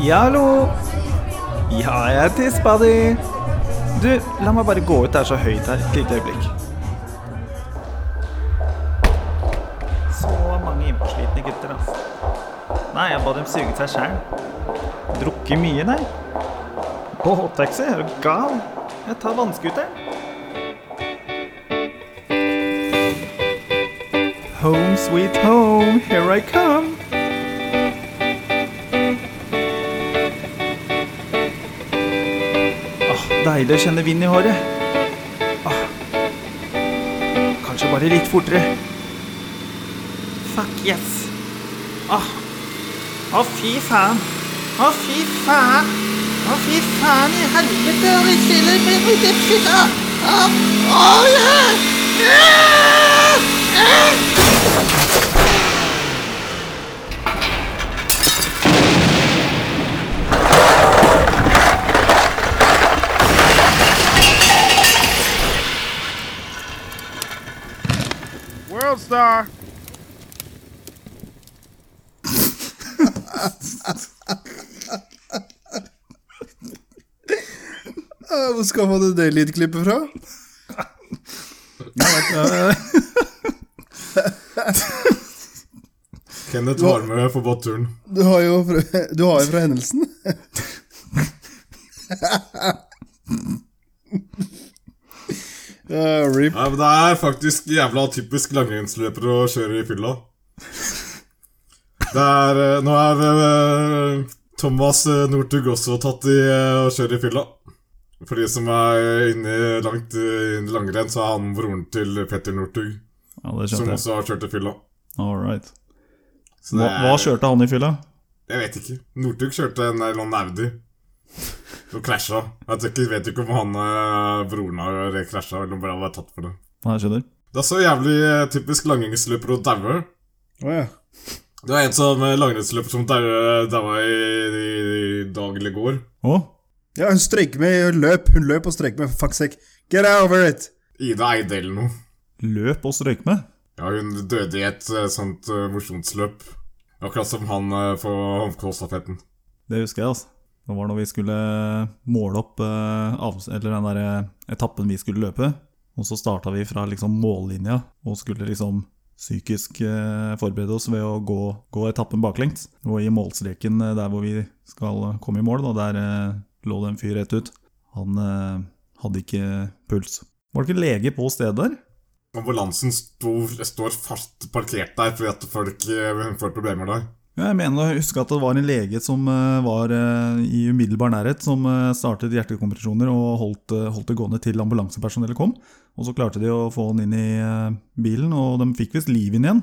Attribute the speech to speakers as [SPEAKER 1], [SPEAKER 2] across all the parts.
[SPEAKER 1] Ja, hallo. Ja, jeg er tispa di. Du, la meg bare gå ut. Det er så høyt her. Et lite øyeblikk. Så mange innpåslitne gutter, altså. Nei, jeg ba dem suge seg sjæl. Drukket mye, nei. Båttaxi? Er du gal? Jeg tar vannskuteren. Home sweet home, here I come. Åh, Ah, deilig å kjenne vind i håret. Åh. Kanskje bare litt fortere. Fuck yes. Åh. Å, fy faen. Å, fy faen. Å, fy faen i helvete. Og det skiller meg ut i fytta. Å, ah, ja.
[SPEAKER 2] World Star.
[SPEAKER 3] Eh, Hvor skaffa du det lydklippet fra?
[SPEAKER 4] Kenneth var med på båtturen.
[SPEAKER 3] Du har jo fra, du har jo fra hendelsen. Ja, rip.
[SPEAKER 4] Nei, men Det er faktisk jævla typisk langrennsløpere å kjøre i fylla. Det er eh, Nå er eh, Thomas eh, Northug også tatt i eh, å kjøre i fylla. For de som er inne i- langt eh, inn i langrenn, så er han broren til Petter Northug.
[SPEAKER 1] Ja, det
[SPEAKER 4] Som
[SPEAKER 1] skjønte jeg.
[SPEAKER 4] også har kjørt i fylla.
[SPEAKER 1] All right.
[SPEAKER 4] Så
[SPEAKER 1] Hva,
[SPEAKER 4] det er-
[SPEAKER 1] hva kjørte han i fylla?
[SPEAKER 4] Jeg vet ikke. Northug kjørte en eller annen Audi. Og krasja. Jeg vet ikke, vet ikke om han eh, broren har krasja, eller om han bare var tatt for det.
[SPEAKER 1] Nei, jeg skjønner.
[SPEAKER 4] Det er så jævlig eh, typisk langrennsløper å daue.
[SPEAKER 3] Å ja.
[SPEAKER 4] Det var en som eh, langrennsløper som daua daua i, i, i dag eller går.
[SPEAKER 1] Å?
[SPEAKER 3] ja, hun strøyk med hun løp. Hun løp og strøyk med. for Fuck's sake. Get over it!
[SPEAKER 4] Ida Eide eller noe.
[SPEAKER 1] Løp og strøyk med?
[SPEAKER 4] Ja, hun døde i et eh, sånt eh, mosjonsløp. Akkurat som han eh, på Holmkollstafetten.
[SPEAKER 1] Det husker jeg, altså. Det var når vi skulle måle opp eh, avs- eller den der eh, etappen vi skulle løpe. Og så starta vi fra liksom mållinja og skulle liksom psykisk eh, forberede oss ved å gå, gå etappen baklengs. Og i målstreken eh, der hvor vi skal komme i mål, da, der eh, lå det en fyr rett ut. Han eh, hadde ikke puls. Var det ikke lege på stedet der?
[SPEAKER 4] Ambulansen sto, står fast parkert der fordi at folk eh, får problemer der.
[SPEAKER 1] Ja, Jeg mener å huske at det var en lege som eh, var eh, i umiddelbar nærhet, som eh, startet hjertekompresjoner og holdt, eh, holdt det gående til ambulansepersonellet kom. Og så klarte de å få han inn i eh, bilen, og de fikk visst liv inn igjen.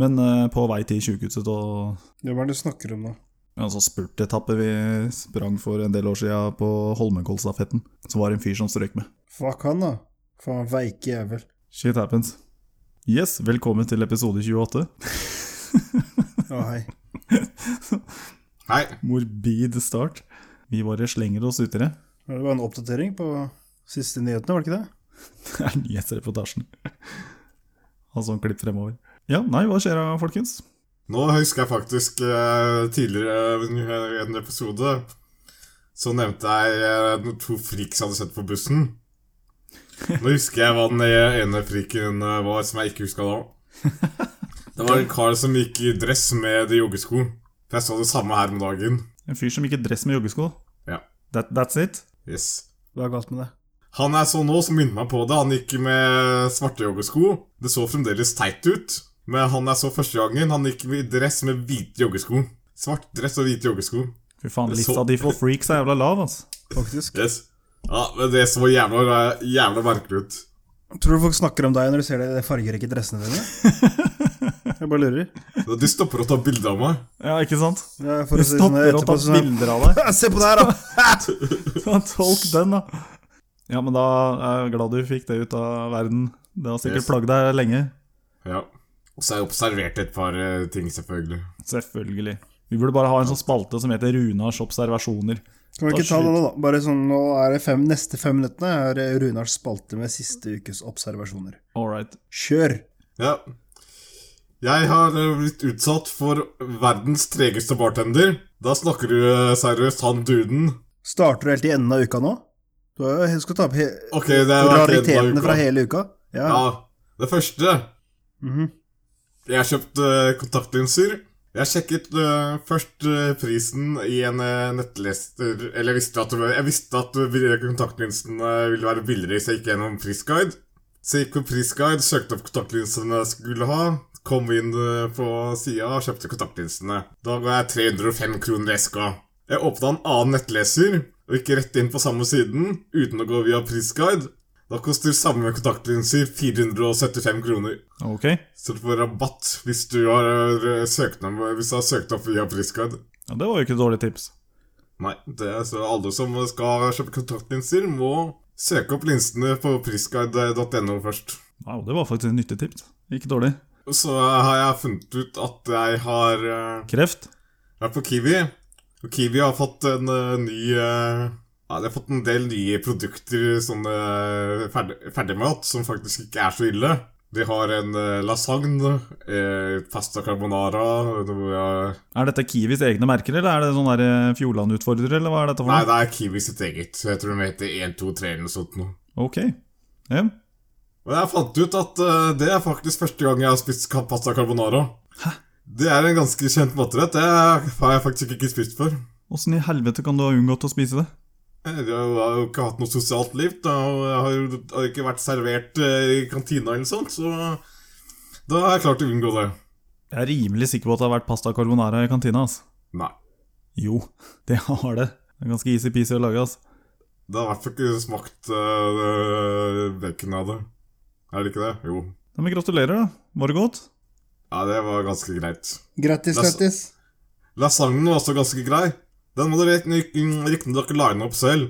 [SPEAKER 1] Men eh, på vei til sykehuset og
[SPEAKER 3] Ja, Hva er det du snakker om nå?
[SPEAKER 1] ja, så spurtetappe vi sprang for en del år siden på Holmenkollstafetten, så var det en fyr som strøk med.
[SPEAKER 3] Fuck han, da. Faen, veike jævel.
[SPEAKER 1] Shit happens. Yes, velkommen til episode 28.
[SPEAKER 3] Å, hei.
[SPEAKER 4] Hei.
[SPEAKER 1] Morbid start. Vi bare slenger oss uti det.
[SPEAKER 3] Det var en oppdatering på siste nyhetene, var det ikke det?
[SPEAKER 1] Det er nyhetsreportasjen. Ha sånn klipp fremover. Ja, nei, hva skjer da, folkens?
[SPEAKER 4] Nå husker jeg faktisk eh, tidligere eh, i en episode så nevnte jeg eh, noen to friks jeg hadde sett på bussen. Nå husker jeg hva den ene friken eh, var, som jeg ikke huska da. Det var en kar som gikk i dress med de joggesko. For jeg så det samme her om dagen.
[SPEAKER 1] En fyr som gikk i dress med joggesko?
[SPEAKER 4] Ja.
[SPEAKER 1] That, that's it?
[SPEAKER 4] Yes.
[SPEAKER 3] Hva er galt med det?
[SPEAKER 4] Han jeg så nå, som minnet meg på det, han gikk med svarte joggesko. Det så fremdeles teit ut. Men han jeg så første gangen, han gikk i dress med hvite joggesko. Svart dress og hvite joggesko.
[SPEAKER 1] Fy faen,
[SPEAKER 4] Det så-
[SPEAKER 1] lista di for freaks er jævla lav, altså.
[SPEAKER 3] Faktisk.
[SPEAKER 4] Yes. Ja, men det så jævla, jævla merkelig ut.
[SPEAKER 3] Tror du folk snakker om deg når de ser deg i de fargerike dressene dine? Jeg bare lurer.
[SPEAKER 4] De stopper å ta bilde av meg.
[SPEAKER 1] Ja, ikke sant?
[SPEAKER 3] Ja, for å
[SPEAKER 1] Du
[SPEAKER 3] si det sånn
[SPEAKER 1] stopper å ta
[SPEAKER 3] etterpå sånn
[SPEAKER 1] bilder av deg.
[SPEAKER 3] Se på det her, da!
[SPEAKER 1] Ja, Tolk den, da. Ja, men da er jeg glad du fikk det ut av verden. Det har sikkert
[SPEAKER 4] Yes.
[SPEAKER 1] plagd deg lenge.
[SPEAKER 4] Ja. Og så har jeg observert et par eh, ting, selvfølgelig.
[SPEAKER 1] Selvfølgelig. Vi burde bare ha en sånn spalte som heter Runars observasjoner.
[SPEAKER 3] Kan vi ikke ta det nå, da? Bare sånn, nå er det fem, neste fem minuttene eh, er Runars spalte med siste ukes observasjoner.
[SPEAKER 1] All right.
[SPEAKER 3] Kjør!
[SPEAKER 4] Ja. Jeg har eh, blitt utsatt for verdens tregeste bartender. Da snakker du eh, seriøst han duden.
[SPEAKER 3] Starter du helt i enden av uka nå? Du har jo- skal ta opp he
[SPEAKER 4] Ok, det er
[SPEAKER 3] raritetene fra hele uka. Ja.
[SPEAKER 4] Ja, det første
[SPEAKER 3] Mhm.
[SPEAKER 4] Jeg kjøpte eh, kontaktlinser. Jeg sjekket eh, først eh, prisen i en eh, nettleser Eller jeg visste at, jeg visste at eh, kontaktlinsene ville være billigere, så jeg gikk gjennom prisguide. Så jeg gikk på prisguide, søkte opp kontaktlinsene jeg skulle ha. Kom inn eh, på sida og kjøpte kontaktlinsene. Da ga jeg 305 kroner i eska. Jeg åpna en annen nettleser og gikk rett inn på samme siden uten å gå via prisguide. Da koster samme kontaktlinser 475 kroner.
[SPEAKER 1] Ok.
[SPEAKER 4] Så du får rabatt hvis du har eh, søknad Hvis du har søkt opp via Priscard.
[SPEAKER 1] Ja, det var jo ikke et dårlig tips.
[SPEAKER 4] Nei, det er så alle som skal kjøpe kontaktlinser, må søke opp linsene på prisguide.no først.
[SPEAKER 1] Wow, det var faktisk et nyttig tips. Ikke dårlig.
[SPEAKER 4] Så har jeg funnet ut at jeg har eh,
[SPEAKER 1] Kreft?
[SPEAKER 4] Jeg er på Kiwi, og Kiwi har fått en eh, ny eh, Ja, de har fått en del nye produkter, sånne eh, ferdig, ferdigmat, som faktisk ikke er så ille. De har en eh, lasagne, eh, pasta carbonara noe, eh,
[SPEAKER 1] Er dette Kiwis egne merker, eller er det sånn der eh, Fjordland-utfordrer, eller hva er dette for
[SPEAKER 4] Nei,
[SPEAKER 1] noe?
[SPEAKER 4] det er Kiwi sitt eget. Jeg tror de heter 1, 2, 3 eller noe sånt noe.
[SPEAKER 1] Ok. Ja.
[SPEAKER 4] Og jeg fant ut at eh, det er faktisk første gang jeg har spist ka- pasta carbonara. Det er en ganske kjent matterett. Det har jeg faktisk ikke spist før.
[SPEAKER 1] Åssen i helvete kan du ha unngått å spise det?
[SPEAKER 4] Jeg har jo ikke hatt noe sosialt liv. Da, og jeg har jo har ikke vært servert eh, i kantina eller sånt, så da har jeg klart å unngå det.
[SPEAKER 1] Jeg er rimelig sikker på at det har vært pasta carbonara i kantina. ass.
[SPEAKER 4] Nei.
[SPEAKER 1] Jo, det har det. Det er ganske easy-peasy å lage. ass.
[SPEAKER 4] Det har i hvert fall ikke smakt uh, bacon av det. Er det ikke det? Jo.
[SPEAKER 1] Ja, men gratulerer, da. Var det godt?
[SPEAKER 4] Ja, det var ganske greit.
[SPEAKER 3] Grattis,
[SPEAKER 4] Lasse-
[SPEAKER 3] grattis.
[SPEAKER 4] Lasagnen var også ganske grei. Den må du riktignok line opp selv.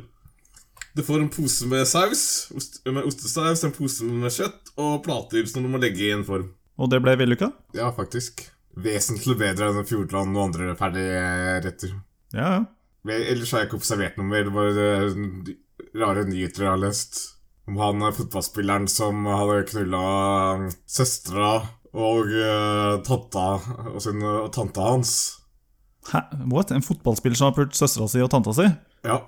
[SPEAKER 4] Du får en pose med saus, ost, med ostesaus, en pose med kjøtt og plater som du må legge i en form.
[SPEAKER 1] Og det ble vellykka?
[SPEAKER 4] Ja, faktisk. Vesentlig bedre enn Fjordland og andre ferdigretter.
[SPEAKER 1] Ja, ja.
[SPEAKER 4] Men Ellers har jeg ikke observert noe mer. Det var eh, rare nyheter jeg har lest. Om han eh, fotballspilleren som hadde knulla søstera og eh, tanta og, sin, eh, og tanta hans.
[SPEAKER 1] Hæ? What? En fotballspiller som har pult søstera si og tanta si?
[SPEAKER 4] Ja,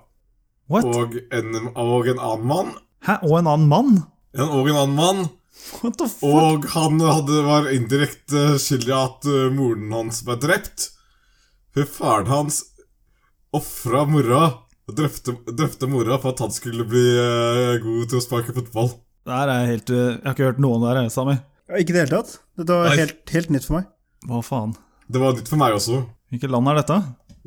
[SPEAKER 1] What?
[SPEAKER 4] og en, og en annen mann.
[SPEAKER 1] Hæ? Og en annen mann?
[SPEAKER 4] En, og en annen mann.
[SPEAKER 1] What the fuck?
[SPEAKER 4] Og han hadde, var indirekte skyld i at eh, moren hans ble drept. For faren hans ofra mora og drepte, drepte mora for at han skulle bli eh, god til å sparke fotball.
[SPEAKER 1] Det her er helt eh, Jeg har ikke hørt noen der, jeg, Sami.
[SPEAKER 3] Ja, ikke i det hele tatt. Dette var
[SPEAKER 4] Nei.
[SPEAKER 3] helt, helt nytt for meg.
[SPEAKER 1] Hva faen?
[SPEAKER 4] Det var nytt for meg også.
[SPEAKER 1] Hvilket land er dette?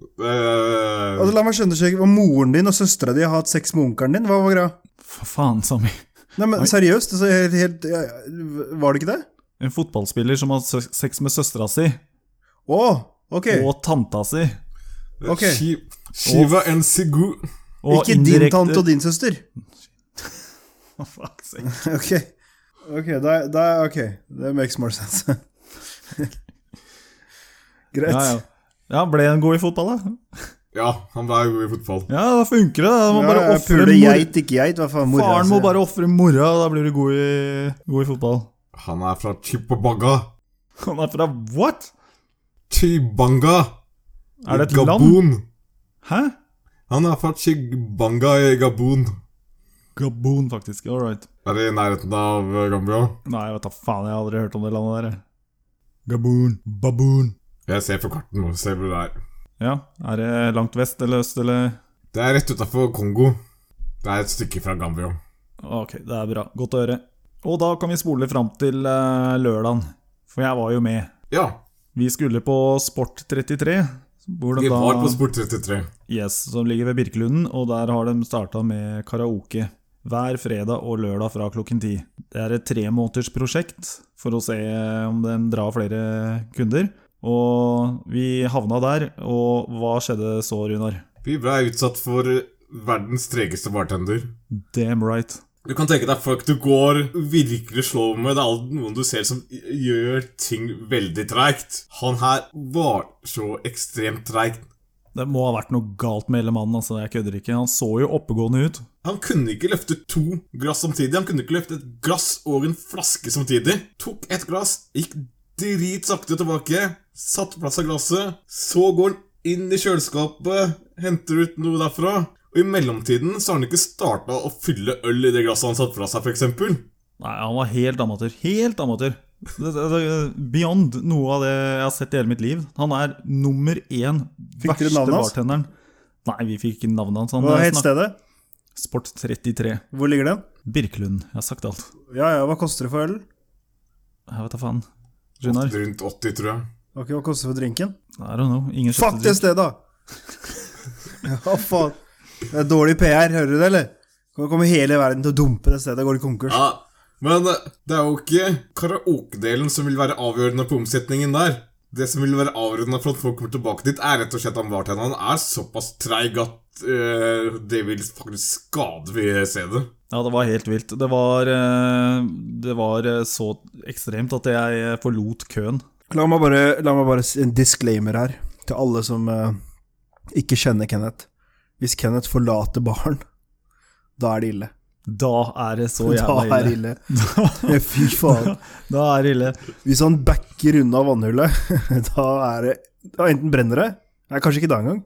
[SPEAKER 4] Eh,
[SPEAKER 3] Altså, la meg skjønne seg, hva moren din og søstera di har hatt sex med onkelen din? Hva var greia?
[SPEAKER 1] Fa faen, Sami.
[SPEAKER 3] Nei, men seriøst, altså, helt, helt, ja, var det ikke det?
[SPEAKER 1] En fotballspiller som har se- sex med søstera si
[SPEAKER 3] Å, ok.
[SPEAKER 1] og tanta si.
[SPEAKER 3] ok.
[SPEAKER 4] Shi- Shiva and Sigu
[SPEAKER 1] Og
[SPEAKER 3] ikke din tante og din søster.
[SPEAKER 1] Fuck sake.
[SPEAKER 3] Ok, ok, da, da, ok. Det makes more sense. Greit.
[SPEAKER 1] Ja, ja. ja, ble en god i fotball, da?
[SPEAKER 4] Ja, han ble god i fotball.
[SPEAKER 1] Ja, da funker det. Da må
[SPEAKER 3] Ja,
[SPEAKER 1] bare
[SPEAKER 3] ja,
[SPEAKER 1] offre
[SPEAKER 3] Pule
[SPEAKER 1] mor-
[SPEAKER 3] geit, ikke geit. Hva faen, mora
[SPEAKER 1] Faren
[SPEAKER 3] altså.
[SPEAKER 1] må bare ofre mora, og da blir du god i, god i fotball.
[SPEAKER 4] Han er fra Chipabanga.
[SPEAKER 1] Han er fra what?
[SPEAKER 4] Chibanga.
[SPEAKER 1] Er det et land?
[SPEAKER 4] Gabon.
[SPEAKER 1] Hæ?
[SPEAKER 4] Han er fra Chibanga i Gabon.
[SPEAKER 1] Gabon, faktisk. All right.
[SPEAKER 4] Er det i nærheten av eh, Gambia?
[SPEAKER 1] Nei, vet da faen, jeg har aldri hørt om det landet der. jeg. Gabon. Baboon.
[SPEAKER 4] Jeg ser på karten nå. Ser hvor det er.
[SPEAKER 1] Ja, er det langt vest eller øst eller
[SPEAKER 4] Det er rett utafor Kongo. Det er et stykke fra Gambia.
[SPEAKER 1] Ok, det er bra. Godt å høre. Og da kan vi spole fram til uh, lørdagen, for jeg var jo med.
[SPEAKER 4] Ja,
[SPEAKER 1] Vi skulle på Sport 33. Hvor de
[SPEAKER 4] vi
[SPEAKER 1] da,
[SPEAKER 4] var på Sport 33.
[SPEAKER 1] yes, som ligger ved Birkelunden, og der har de starta med karaoke. Hver fredag og lørdag fra klokken ti. Det er et tremånedersprosjekt for å se eh, om den drar flere kunder. Og vi havna der, og hva skjedde så, Runar?
[SPEAKER 4] Vi ble utsatt for verdens tregeste bartender.
[SPEAKER 1] Damn right.
[SPEAKER 4] Du kan tenke deg folk du går virkelig slår med. Det er alltid noen du ser som gjør ting veldig treigt. Han her var så ekstremt treig.
[SPEAKER 1] Det må ha vært noe galt med hele mannen, altså. Jeg kødder ikke. Han så jo oppegående ut.
[SPEAKER 4] Han kunne ikke løfte to glass samtidig. Han kunne ikke løfte et glass og en flaske samtidig. Tok et glass, gikk dritsakte tilbake, satt plass av glasset, så går han inn i kjøleskapet, henter ut noe derfra, og i mellomtiden så har han ikke starta å fylle øl i det glasset han satte fra seg, f.eks.
[SPEAKER 1] Nei, han var helt amatør. Helt amatør. Det- det- det- Beyond noe av det jeg har sett i hele mitt liv. Han er nummer én
[SPEAKER 3] Fikk dere
[SPEAKER 1] verste
[SPEAKER 3] navnet hans?
[SPEAKER 1] bartenderen. Nei, vi fikk ikke navnet hans. Han
[SPEAKER 3] Hva het
[SPEAKER 1] snak-
[SPEAKER 3] stedet?
[SPEAKER 1] Sport 33.
[SPEAKER 3] Hvor ligger den?
[SPEAKER 1] Birkelund. Jeg har sagt alt.
[SPEAKER 3] Ja ja, hva koster det for ølen?
[SPEAKER 1] Jeg vet da faen. Runar?
[SPEAKER 4] Rundt 80, tror jeg.
[SPEAKER 3] Ok, hva koster det for drinken?
[SPEAKER 1] I don't know. Ingen
[SPEAKER 3] Fuck
[SPEAKER 1] kjøpte
[SPEAKER 3] det
[SPEAKER 1] drink.
[SPEAKER 3] stedet, da! Ja, faen. Det er dårlig PR, hører du det, eller? Kan komme hele verden til å dumpe det stedet, går det konkurs.
[SPEAKER 4] Ja, men eh, det er jo ikke karaoke-delen som vil være avgjørende på omsetningen der. Det som vil være avgjørende for at folk kommer tilbake dit, er rett og slett han bartenderen er såpass treig at eh, det vil faktisk skade ved stedet.
[SPEAKER 1] Ja, det var helt vilt. Det var, eh, det var eh, så ekstremt at jeg eh, forlot køen.
[SPEAKER 3] La meg bare, la meg bare si en disclaimer her, til alle som eh, ikke kjenner Kenneth. Hvis Kenneth forlater baren, da er det ille.
[SPEAKER 1] Da er det så
[SPEAKER 3] Da
[SPEAKER 1] jævla
[SPEAKER 3] er det
[SPEAKER 1] ille.
[SPEAKER 3] ille. Fy faen.
[SPEAKER 1] Da er det ille.
[SPEAKER 3] Hvis han backer unna vannhullet, da er det da Enten brenner det Nei, kanskje ikke da engang.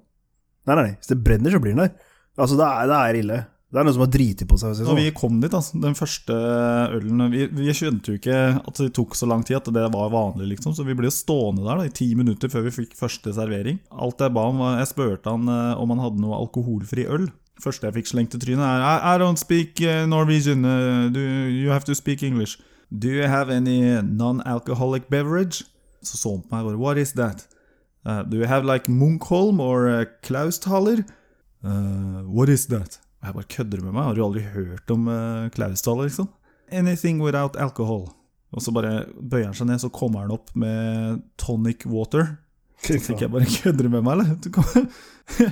[SPEAKER 3] Nei, nei, nei. Hvis det brenner, så blir den der. Altså, det er, det er ille. Det er noen som har driti på seg. for å si det
[SPEAKER 1] Når vi
[SPEAKER 3] sånn.
[SPEAKER 1] kom dit, altså, den første ølen Vi, vi skjønte jo ikke at det tok så lang tid at det var vanlig, liksom. Så vi ble jo stående der da, i ti minutter før vi fikk første servering. Alt jeg ba om, var Jeg spurte han eh, om han hadde noe alkoholfri øl. Første jeg fikk slengt i trynet, er I, I don't speak eh, Norwegian. eh, do, you have to speak English. Do you have any non-alcoholic beverage? Så så han på meg og bare What is that? Uh, do you have like Munkholm or uh, Klausthaler? Uh, what is that? Og jeg bare kødder med meg. Har du aldri hørt om uh, Klausthaler, liksom? Anything without alcohol. Og så bare bøyer han seg ned, så kommer han opp med tonic water. Så
[SPEAKER 3] sånn.
[SPEAKER 1] tenker jeg bare kødder du med meg, eller? Du kommer-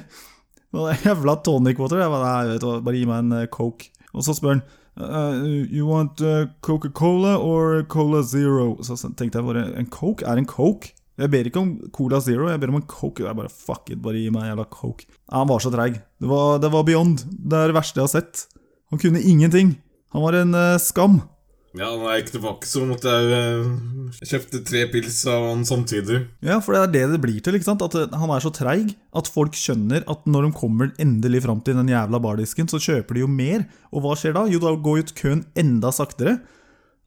[SPEAKER 1] Og det er Jævla tonic water. Jeg bare, nei, vet du hva, bare gi meg en uh, coke. Og så spør han uh, You want uh, Coca-Cola or Cola Zero? Så tenkte jeg bare En coke er en coke. Jeg ber ikke om Cola Zero, jeg ber om en coke. Jeg bare fuck it, bare gi meg en jævla coke. Ja, han var så treig. Det, var- det var beyond. Det er det verste jeg har sett. Han kunne ingenting. Han var en eh, skam.
[SPEAKER 4] Ja, når jeg gikk tilbake, så måtte jeg eh, kjøpte tre pils av han samtidig.
[SPEAKER 1] Ja, for det er det det blir til. ikke sant? At eh, Han er så treig at folk skjønner at når de kommer endelig fram til den jævla bardisken, så kjøper de jo mer. Og hva skjer da? Jo, da går jo køen enda saktere.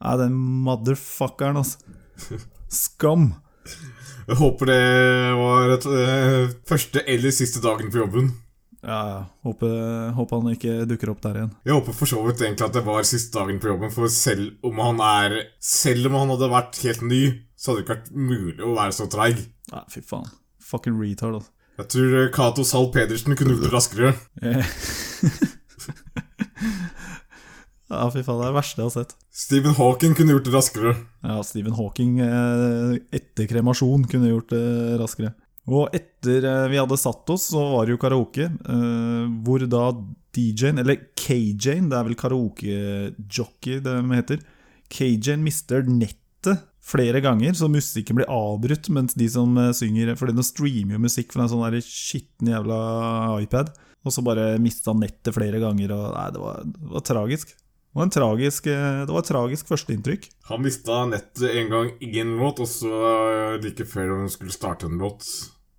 [SPEAKER 1] Nei, den motherfuckeren, altså. Skam.
[SPEAKER 4] Jeg håper det var et, eh, første eller siste dagen på jobben.
[SPEAKER 1] Ja, ja. Håper, håper han ikke dukker opp der igjen.
[SPEAKER 4] Jeg håper for så vidt egentlig at det var siste dagen på jobben, for selv om han er Selv om han hadde vært helt ny, så hadde det ikke vært mulig å være så treig.
[SPEAKER 1] Nei, fy faen. Fucking retard, altså.
[SPEAKER 4] Jeg tror eh, Cato Zahl Pedersen kunne gjort det raskere.
[SPEAKER 1] Eh. ja, fy faen. Det er det verste jeg har sett.
[SPEAKER 4] Stephen Hawking kunne gjort det raskere.
[SPEAKER 1] Ja, Stephen Hawking eh, etter kremasjon kunne gjort det raskere. Og etter eh, vi hadde satt oss, så var det jo karaoke, eh, hvor da DJ-en, eller KJ-en, det er vel karaokejockey det heter, KJ-en mister nettet flere ganger, så musikken blir avbrutt mens de som eh, synger Fordi de streamer jo musikk fra en sånn der skitten jævla iPad, og så bare mista han nettet flere ganger, og nei, det var, det var tragisk. Det var, en tragisk, eh, det var et tragisk førsteinntrykk.
[SPEAKER 4] Han mista nettet en gang i en låt, og så eh, like før han skulle starte en låt.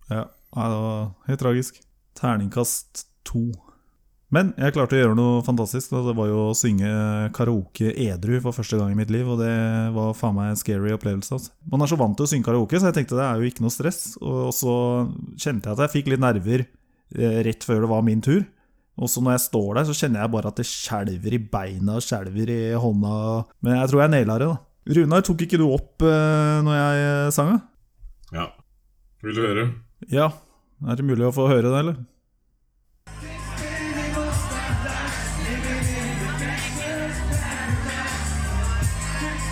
[SPEAKER 1] Ja, nei, det var helt tragisk. Terningkast to. Men jeg klarte å gjøre noe fantastisk. Da. Det var jo å synge karaoke edru for første gang i mitt liv, og det var faen meg en scary opplevelse. Altså. Man er så vant til å synge karaoke, så jeg tenkte det er jo ikke noe stress. Og så kjente jeg at jeg fikk litt nerver eh, rett før det var min tur. Og så når jeg står der, så kjenner jeg bare at det skjelver i beina og skjelver i hånda. Men jeg tror jeg naila det, da. Runar, tok ikke du opp eh, når jeg eh, sang? da?
[SPEAKER 4] Ja. Vil du høre?
[SPEAKER 1] Ja, er det mulig å få høre det, eller?
[SPEAKER 3] Yay.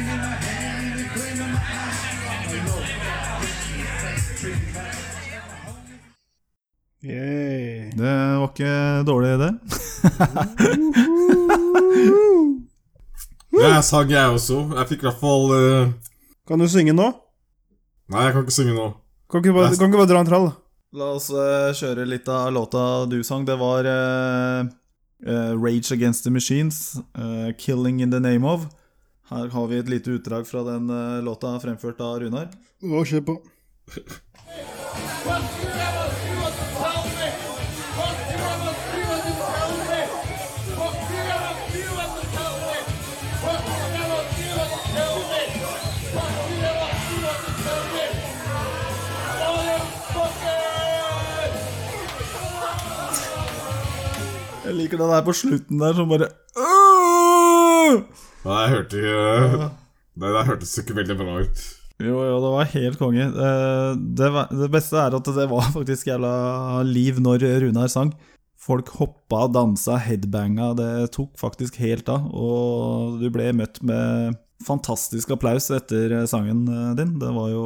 [SPEAKER 1] Det var ikke dårlig, det.
[SPEAKER 4] Jeg sang, jeg også. Jeg fikk i hvert fall eh,
[SPEAKER 3] Kan du synge nå?
[SPEAKER 4] Nei, jeg kan ikke synge nå.
[SPEAKER 3] Kan ikke du bare,
[SPEAKER 4] Jeg-
[SPEAKER 3] kan ikke du bare dra en trall?
[SPEAKER 1] La oss eh, kjøre litt av låta du sang. Det var eh, eh, Rage Against the Machines, eh, 'Killing In The Name Of'. Her har vi et lite utdrag fra den eh, låta fremført av Runar.
[SPEAKER 3] Å, kjør på.
[SPEAKER 1] Jeg liker den der på slutten der som bare «Åh!»
[SPEAKER 4] Nei, jeg hørte ikke eh, Det der hørtes ikke veldig bra ut.
[SPEAKER 1] Jo, jo, det var helt konge. Eh, Det, var, det beste er at det var faktisk jævla liv når Runar sang. Folk hoppa, dansa, headbanga. Det tok faktisk helt av. Og du ble møtt med fantastisk applaus etter eh, sangen eh, din. Det var jo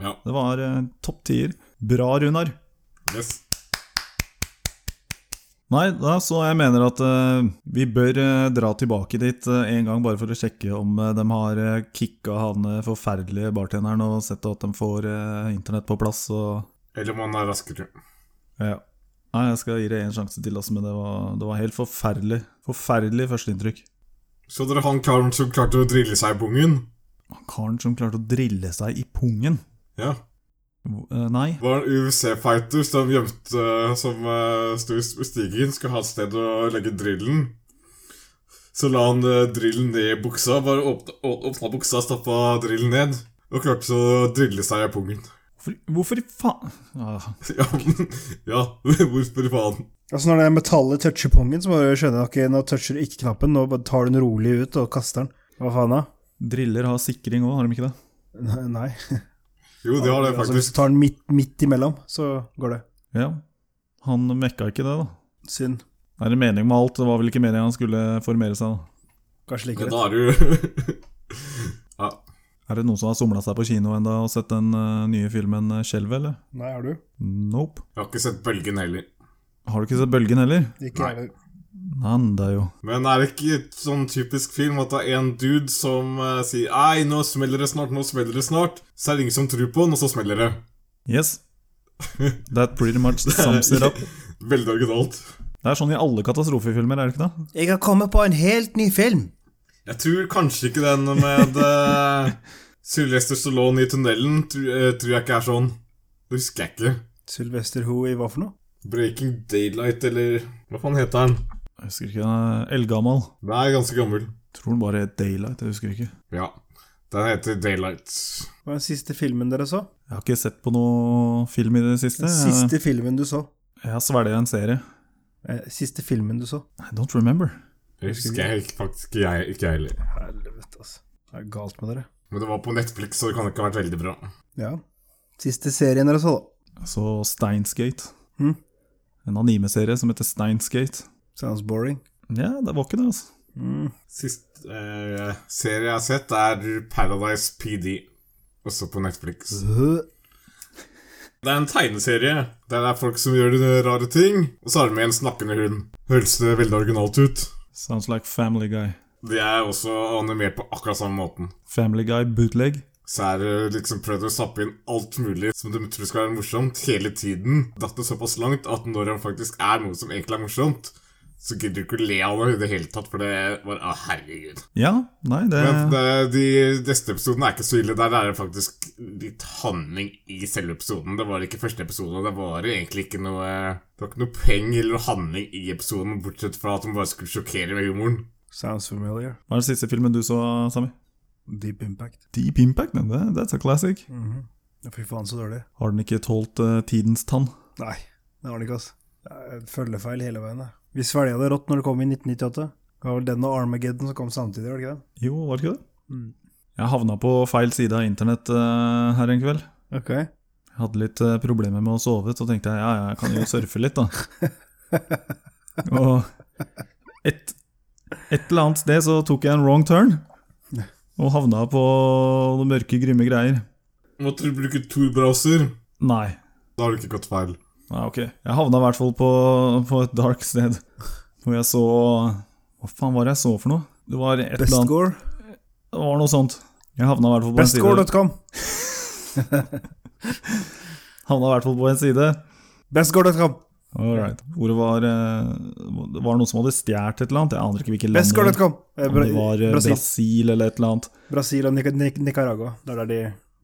[SPEAKER 4] Ja.
[SPEAKER 1] Det var eh, topp tier. Bra, Runar.
[SPEAKER 4] Yes.
[SPEAKER 1] Nei, da, så jeg mener at eh, vi bør eh, dra tilbake dit eh, en gang, bare for å sjekke om eh, de har eh, kicka han eh, forferdelige bartenderen og sett at de får eh, internett på plass. og...
[SPEAKER 4] Eller man er raskere.
[SPEAKER 1] Ja. Nei, jeg skal gi det en sjanse til, altså, men det var, det var helt forferdelig. Forferdelig førsteinntrykk.
[SPEAKER 4] Så dere han karen som klarte å drille seg i pungen?
[SPEAKER 1] Han Karen som klarte å drille seg i pungen.
[SPEAKER 4] Ja.
[SPEAKER 1] Hvor- eh, Nei.
[SPEAKER 4] Det var en UFC-fighter som gjemte Som eh, sto i stigen, skulle ha et sted å legge drillen. Så la han eh, drillen ned i buksa, bare åpna, å- åpna buksa, stappa drillen ned. Og klarte så å drille seg i pungen.
[SPEAKER 1] Hvorfor, hvorfor i faen ah,
[SPEAKER 4] Ja, men- ja, hvorfor faen?
[SPEAKER 3] Altså Når det metallet toucher pongen, så bare skjønner jeg ikke Nå toucher du ikke knappen, nå bare tar du den rolig ut og kaster den. Hva faen da?
[SPEAKER 1] Driller har sikring òg, har de ikke det?
[SPEAKER 3] Nei, Nei.
[SPEAKER 4] Jo, det har det
[SPEAKER 3] Altså, hvis du
[SPEAKER 4] faktisk.
[SPEAKER 3] tar den midt, midt imellom, så går det.
[SPEAKER 1] Ja. Han mekka ikke det, da.
[SPEAKER 3] Synd.
[SPEAKER 1] Det er en mening med alt. Det var vel ikke meningen han skulle formere seg. da.
[SPEAKER 3] Kanskje
[SPEAKER 4] Ja,
[SPEAKER 3] liker det.
[SPEAKER 4] da er du Ja.
[SPEAKER 1] Er det noen som har somla seg på kino enda og sett den eh, nye filmen eh, 'Skjelvet', eller?
[SPEAKER 3] Nei, har du?
[SPEAKER 1] Nope.
[SPEAKER 4] Jeg har ikke sett bølgen heller.
[SPEAKER 1] Har du ikke sett 'Bølgen' heller?
[SPEAKER 3] Ikke jeg heller.
[SPEAKER 1] Nei, det er jo
[SPEAKER 4] Men er det ikke et sånn typisk film at det er en dude som eh, sier Ei, nå smeller det snart, nå smeller det snart. Så er det ingen som tror på den, og så smeller det.
[SPEAKER 1] Yes. That pretty much sums it up.
[SPEAKER 4] Veldig originalt.
[SPEAKER 1] Det er sånn i alle katastrofefilmer, er det ikke det?
[SPEAKER 3] Jeg har kommet på en helt ny film.
[SPEAKER 4] Jeg tror kanskje ikke den med eh, Sylvester Stallone i tunnelen tr eh, tror jeg ikke er sånn. Det husker jeg ikke.
[SPEAKER 3] Sylvester Ho i hva for noe?
[SPEAKER 4] Breaking Daylight, eller Hva faen heter den?
[SPEAKER 1] Jeg husker ikke, den er eldgammel.
[SPEAKER 4] Den er ganske gammel.
[SPEAKER 1] Tror den bare het Daylight, jeg husker ikke.
[SPEAKER 4] Ja. Den heter Daylight.
[SPEAKER 3] Hva er den siste filmen dere så?
[SPEAKER 1] Jeg har ikke sett på noe film i det siste.
[SPEAKER 3] Den
[SPEAKER 1] Jeg,
[SPEAKER 3] siste filmen du så?
[SPEAKER 1] jeg har svelget en serie.
[SPEAKER 3] Eh, siste filmen du så?
[SPEAKER 1] I don't remember.
[SPEAKER 4] Det husker jeg ikke- faktisk ikke jeg ikke jeg heller.
[SPEAKER 3] Helvete, altså. Det er galt med dere.
[SPEAKER 4] Men det var på Netflix, så det kan ikke ha vært veldig bra.
[SPEAKER 3] Ja. Siste serien dere så, da.
[SPEAKER 1] Så Steinsgate.
[SPEAKER 3] Mhm.
[SPEAKER 1] En anime-serie som heter Steinsgate.
[SPEAKER 3] Sounds boring.
[SPEAKER 1] Ja, det var ikke det, altså.
[SPEAKER 4] Sist eh, serie jeg har sett, er Paradise PD. Også på Netflix.
[SPEAKER 3] Øh.
[SPEAKER 4] Det er en tegneserie. Der det er folk som gjør rare ting. Og så har de med en snakkende hund. Høres det veldig originalt ut?
[SPEAKER 1] Sounds like Family Guy.
[SPEAKER 4] De er også animert på akkurat samme måten.
[SPEAKER 1] Family Guy bootleg.
[SPEAKER 4] Så er det liksom prøvd å stappe inn alt mulig som de tror skal være morsomt, hele tiden. Datt det såpass langt at når han faktisk er noe som egentlig er morsomt, så gidder du ikke å le av det i det hele tatt, for det var Å, herregud.
[SPEAKER 1] Ja, nei, det
[SPEAKER 4] Men det, de neste episodene er ikke så ille. Der er det faktisk litt handling i selve episoden. Det var ikke første episode, og det var egentlig ikke noe eh, Det var ikke noe peng eller handling i episoden, bortsett fra at de bare skulle sjokkere med humoren.
[SPEAKER 3] Sounds familiar.
[SPEAKER 1] Hva er den siste filmen du så, Sami?
[SPEAKER 3] Deep impact.
[SPEAKER 1] Deep Impact, men det, that's a classic.
[SPEAKER 3] Mhm. Ja, Fy faen, så dårlig.
[SPEAKER 1] Har den ikke tålt eh, tidens tann?
[SPEAKER 3] Nei, det har den ikke, altså. Det er Følgefeil hele veien. da. Vi svelga det rått når det kom i 1998. Det var vel den og Armageddon som kom samtidig, var det ikke det?
[SPEAKER 1] Jo, var det ikke det? Jeg havna på feil side av internett eh, her en kveld.
[SPEAKER 3] Ok.
[SPEAKER 1] Jeg hadde litt eh, problemer med å sove, så tenkte jeg ja, ja, jeg kan jo surfe litt, da. Og et, et eller annet sted så tok jeg en wrong turn, og havna på noen mørke, grymme greier.
[SPEAKER 4] Måtte du bruke to browser?
[SPEAKER 1] Nei.
[SPEAKER 4] Da har du ikke gått feil.
[SPEAKER 1] Nei, ok. Jeg havna i hvert fall på, på et dark sted, hvor jeg så Hva faen var det jeg så for noe? Det var et eller
[SPEAKER 3] Best
[SPEAKER 1] annet
[SPEAKER 3] gore.
[SPEAKER 1] Det var noe sånt. Jeg havna i hvert fall på en side.
[SPEAKER 3] Bestgore.com.
[SPEAKER 1] Havna i hvert fall på en side.
[SPEAKER 3] Bestgore.com.
[SPEAKER 1] All right. Ordet var eh, Det var noen som hadde stjålet et eller annet. Jeg aner ikke hvilket land. det var.
[SPEAKER 3] Bestgore.com. Eh,
[SPEAKER 1] Om det
[SPEAKER 3] Bra
[SPEAKER 1] var eh,
[SPEAKER 3] Brasil.
[SPEAKER 1] Brasil eller et eller annet.
[SPEAKER 3] Brasil og Nica- Nic- Nicaragua. Det er der de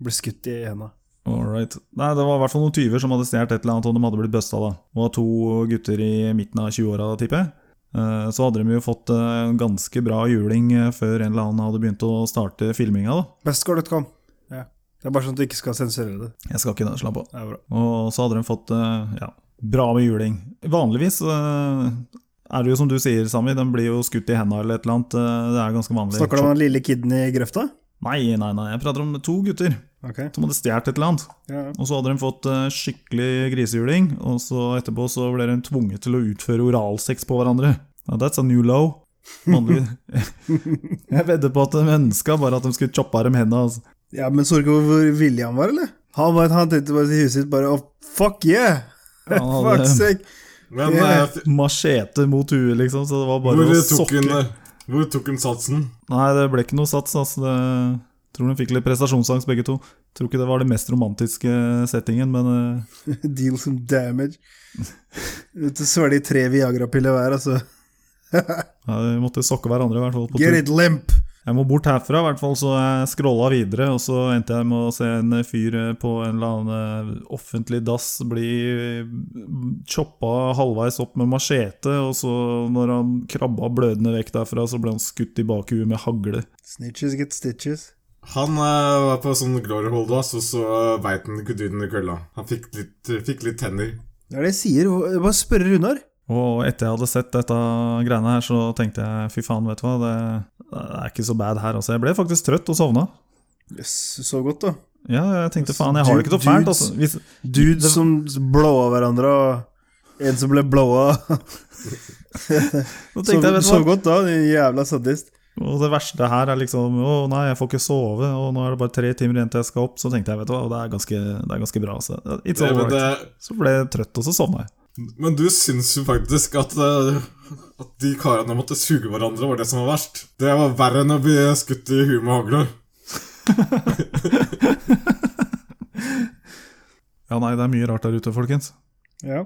[SPEAKER 3] ble skutt i henda.
[SPEAKER 1] All right. Nei, det var i hvert fall noen tyver som hadde stjålet et eller annet, og de hadde blitt busta da. Det var to gutter i midten av 20-åra, tipper jeg. Eh, Så hadde de jo fått eh, en ganske bra juling eh, før en eller annen hadde begynt å starte filminga, da.
[SPEAKER 3] Bestgore.com. Ja. Det er bare sånn at du ikke skal sensurere det.
[SPEAKER 1] Jeg skal ikke slappe av.
[SPEAKER 3] Det er bra.
[SPEAKER 1] Og så hadde de fått eh, ja, bra med juling. Vanligvis eh, er det jo som du sier, Sami, de blir jo skutt i henda eller et eller annet. eh, Det er ganske vanlig.
[SPEAKER 3] Snakker du om den lille kiden i grøfta?
[SPEAKER 1] Nei, nei, nei, jeg prater om to gutter
[SPEAKER 3] Ok.
[SPEAKER 1] som hadde stjålet et eller annet.
[SPEAKER 3] Ja.
[SPEAKER 1] Og så hadde de fått eh, skikkelig grisehjuling, og så etterpå så ble de tvunget til å utføre oralsex på hverandre. Now, that's a new low. Vanligvis. Jeg vedder på at de ønska bare at de skulle choppe av dem henda. Altså.
[SPEAKER 3] ja, men så du ikke hvor villig han var, eller? Han, var, han tenkte bare til huset sitt bare oh, Fuck yeah!
[SPEAKER 1] Han hadde-
[SPEAKER 3] Fuck sake!
[SPEAKER 4] Men
[SPEAKER 3] Ja.
[SPEAKER 4] eh,
[SPEAKER 1] Machete mot huet, liksom, så det var bare
[SPEAKER 4] hvor
[SPEAKER 1] å
[SPEAKER 4] tok,
[SPEAKER 1] sokke
[SPEAKER 4] hun, eh, hvor tok hun satsen?
[SPEAKER 1] Nei, det ble ikke noe sats, altså. Det... Tror de fikk litt prestasjonsangst, begge to. Tror ikke det var den mest romantiske settingen, men eh,
[SPEAKER 3] Deal some damage. Ute svelger tre Viagra-piller hver, altså.
[SPEAKER 1] ja, vi måtte sokke hverandre, i hvert fall. På
[SPEAKER 3] Get
[SPEAKER 1] tur.
[SPEAKER 3] it limp!
[SPEAKER 1] Jeg må bort herfra, i hvert fall, så jeg scrolla videre, og så endte jeg med å se en fyr på en eller annen eh, offentlig dass bli eh, choppa halvveis opp med machete, og så, når han krabba blødende vekk derfra, så ble han skutt i bakhuet med hagle.
[SPEAKER 3] Snitches get stitches.
[SPEAKER 4] Han eh, var på sånn glory hold, ass, og så eh, beit han kududen i kølla. Han fikk litt, fikk litt tenner.
[SPEAKER 3] Det er det jeg sier. Bare spørre Runar.
[SPEAKER 1] Og etter jeg hadde sett dette greiene her, så tenkte jeg fy faen, vet du hva, det, det er ikke så bad her, altså. Jeg ble faktisk trøtt og sovna.
[SPEAKER 3] Yes, så godt, da.
[SPEAKER 1] Ja, jeg tenkte faen, jeg har det ikke så fælt, altså. Hvis,
[SPEAKER 3] Dudes som blåa hverandre, og en som ble blåa.
[SPEAKER 1] nå
[SPEAKER 3] Så,
[SPEAKER 1] tenkte jeg, vet du
[SPEAKER 3] så
[SPEAKER 1] hva.
[SPEAKER 3] godt, da. Din jævla sadist.
[SPEAKER 1] Og det verste her er liksom Å nei, jeg får ikke sove, og nå er det bare tre timer igjen til jeg skal opp. Så tenkte jeg, vet du hva, det er ganske, det er ganske bra. Så, it's
[SPEAKER 4] Det,
[SPEAKER 1] all
[SPEAKER 4] men,
[SPEAKER 1] right.
[SPEAKER 4] det,
[SPEAKER 1] Så ble jeg trøtt, og så sovna jeg.
[SPEAKER 4] men du syns jo faktisk at, eh, at de karene måtte suge hverandre, var det som var verst. Det var verre enn å bli skutt i huet med hagle.
[SPEAKER 1] Ja, nei, det er mye rart der ute, folkens.
[SPEAKER 3] Ja.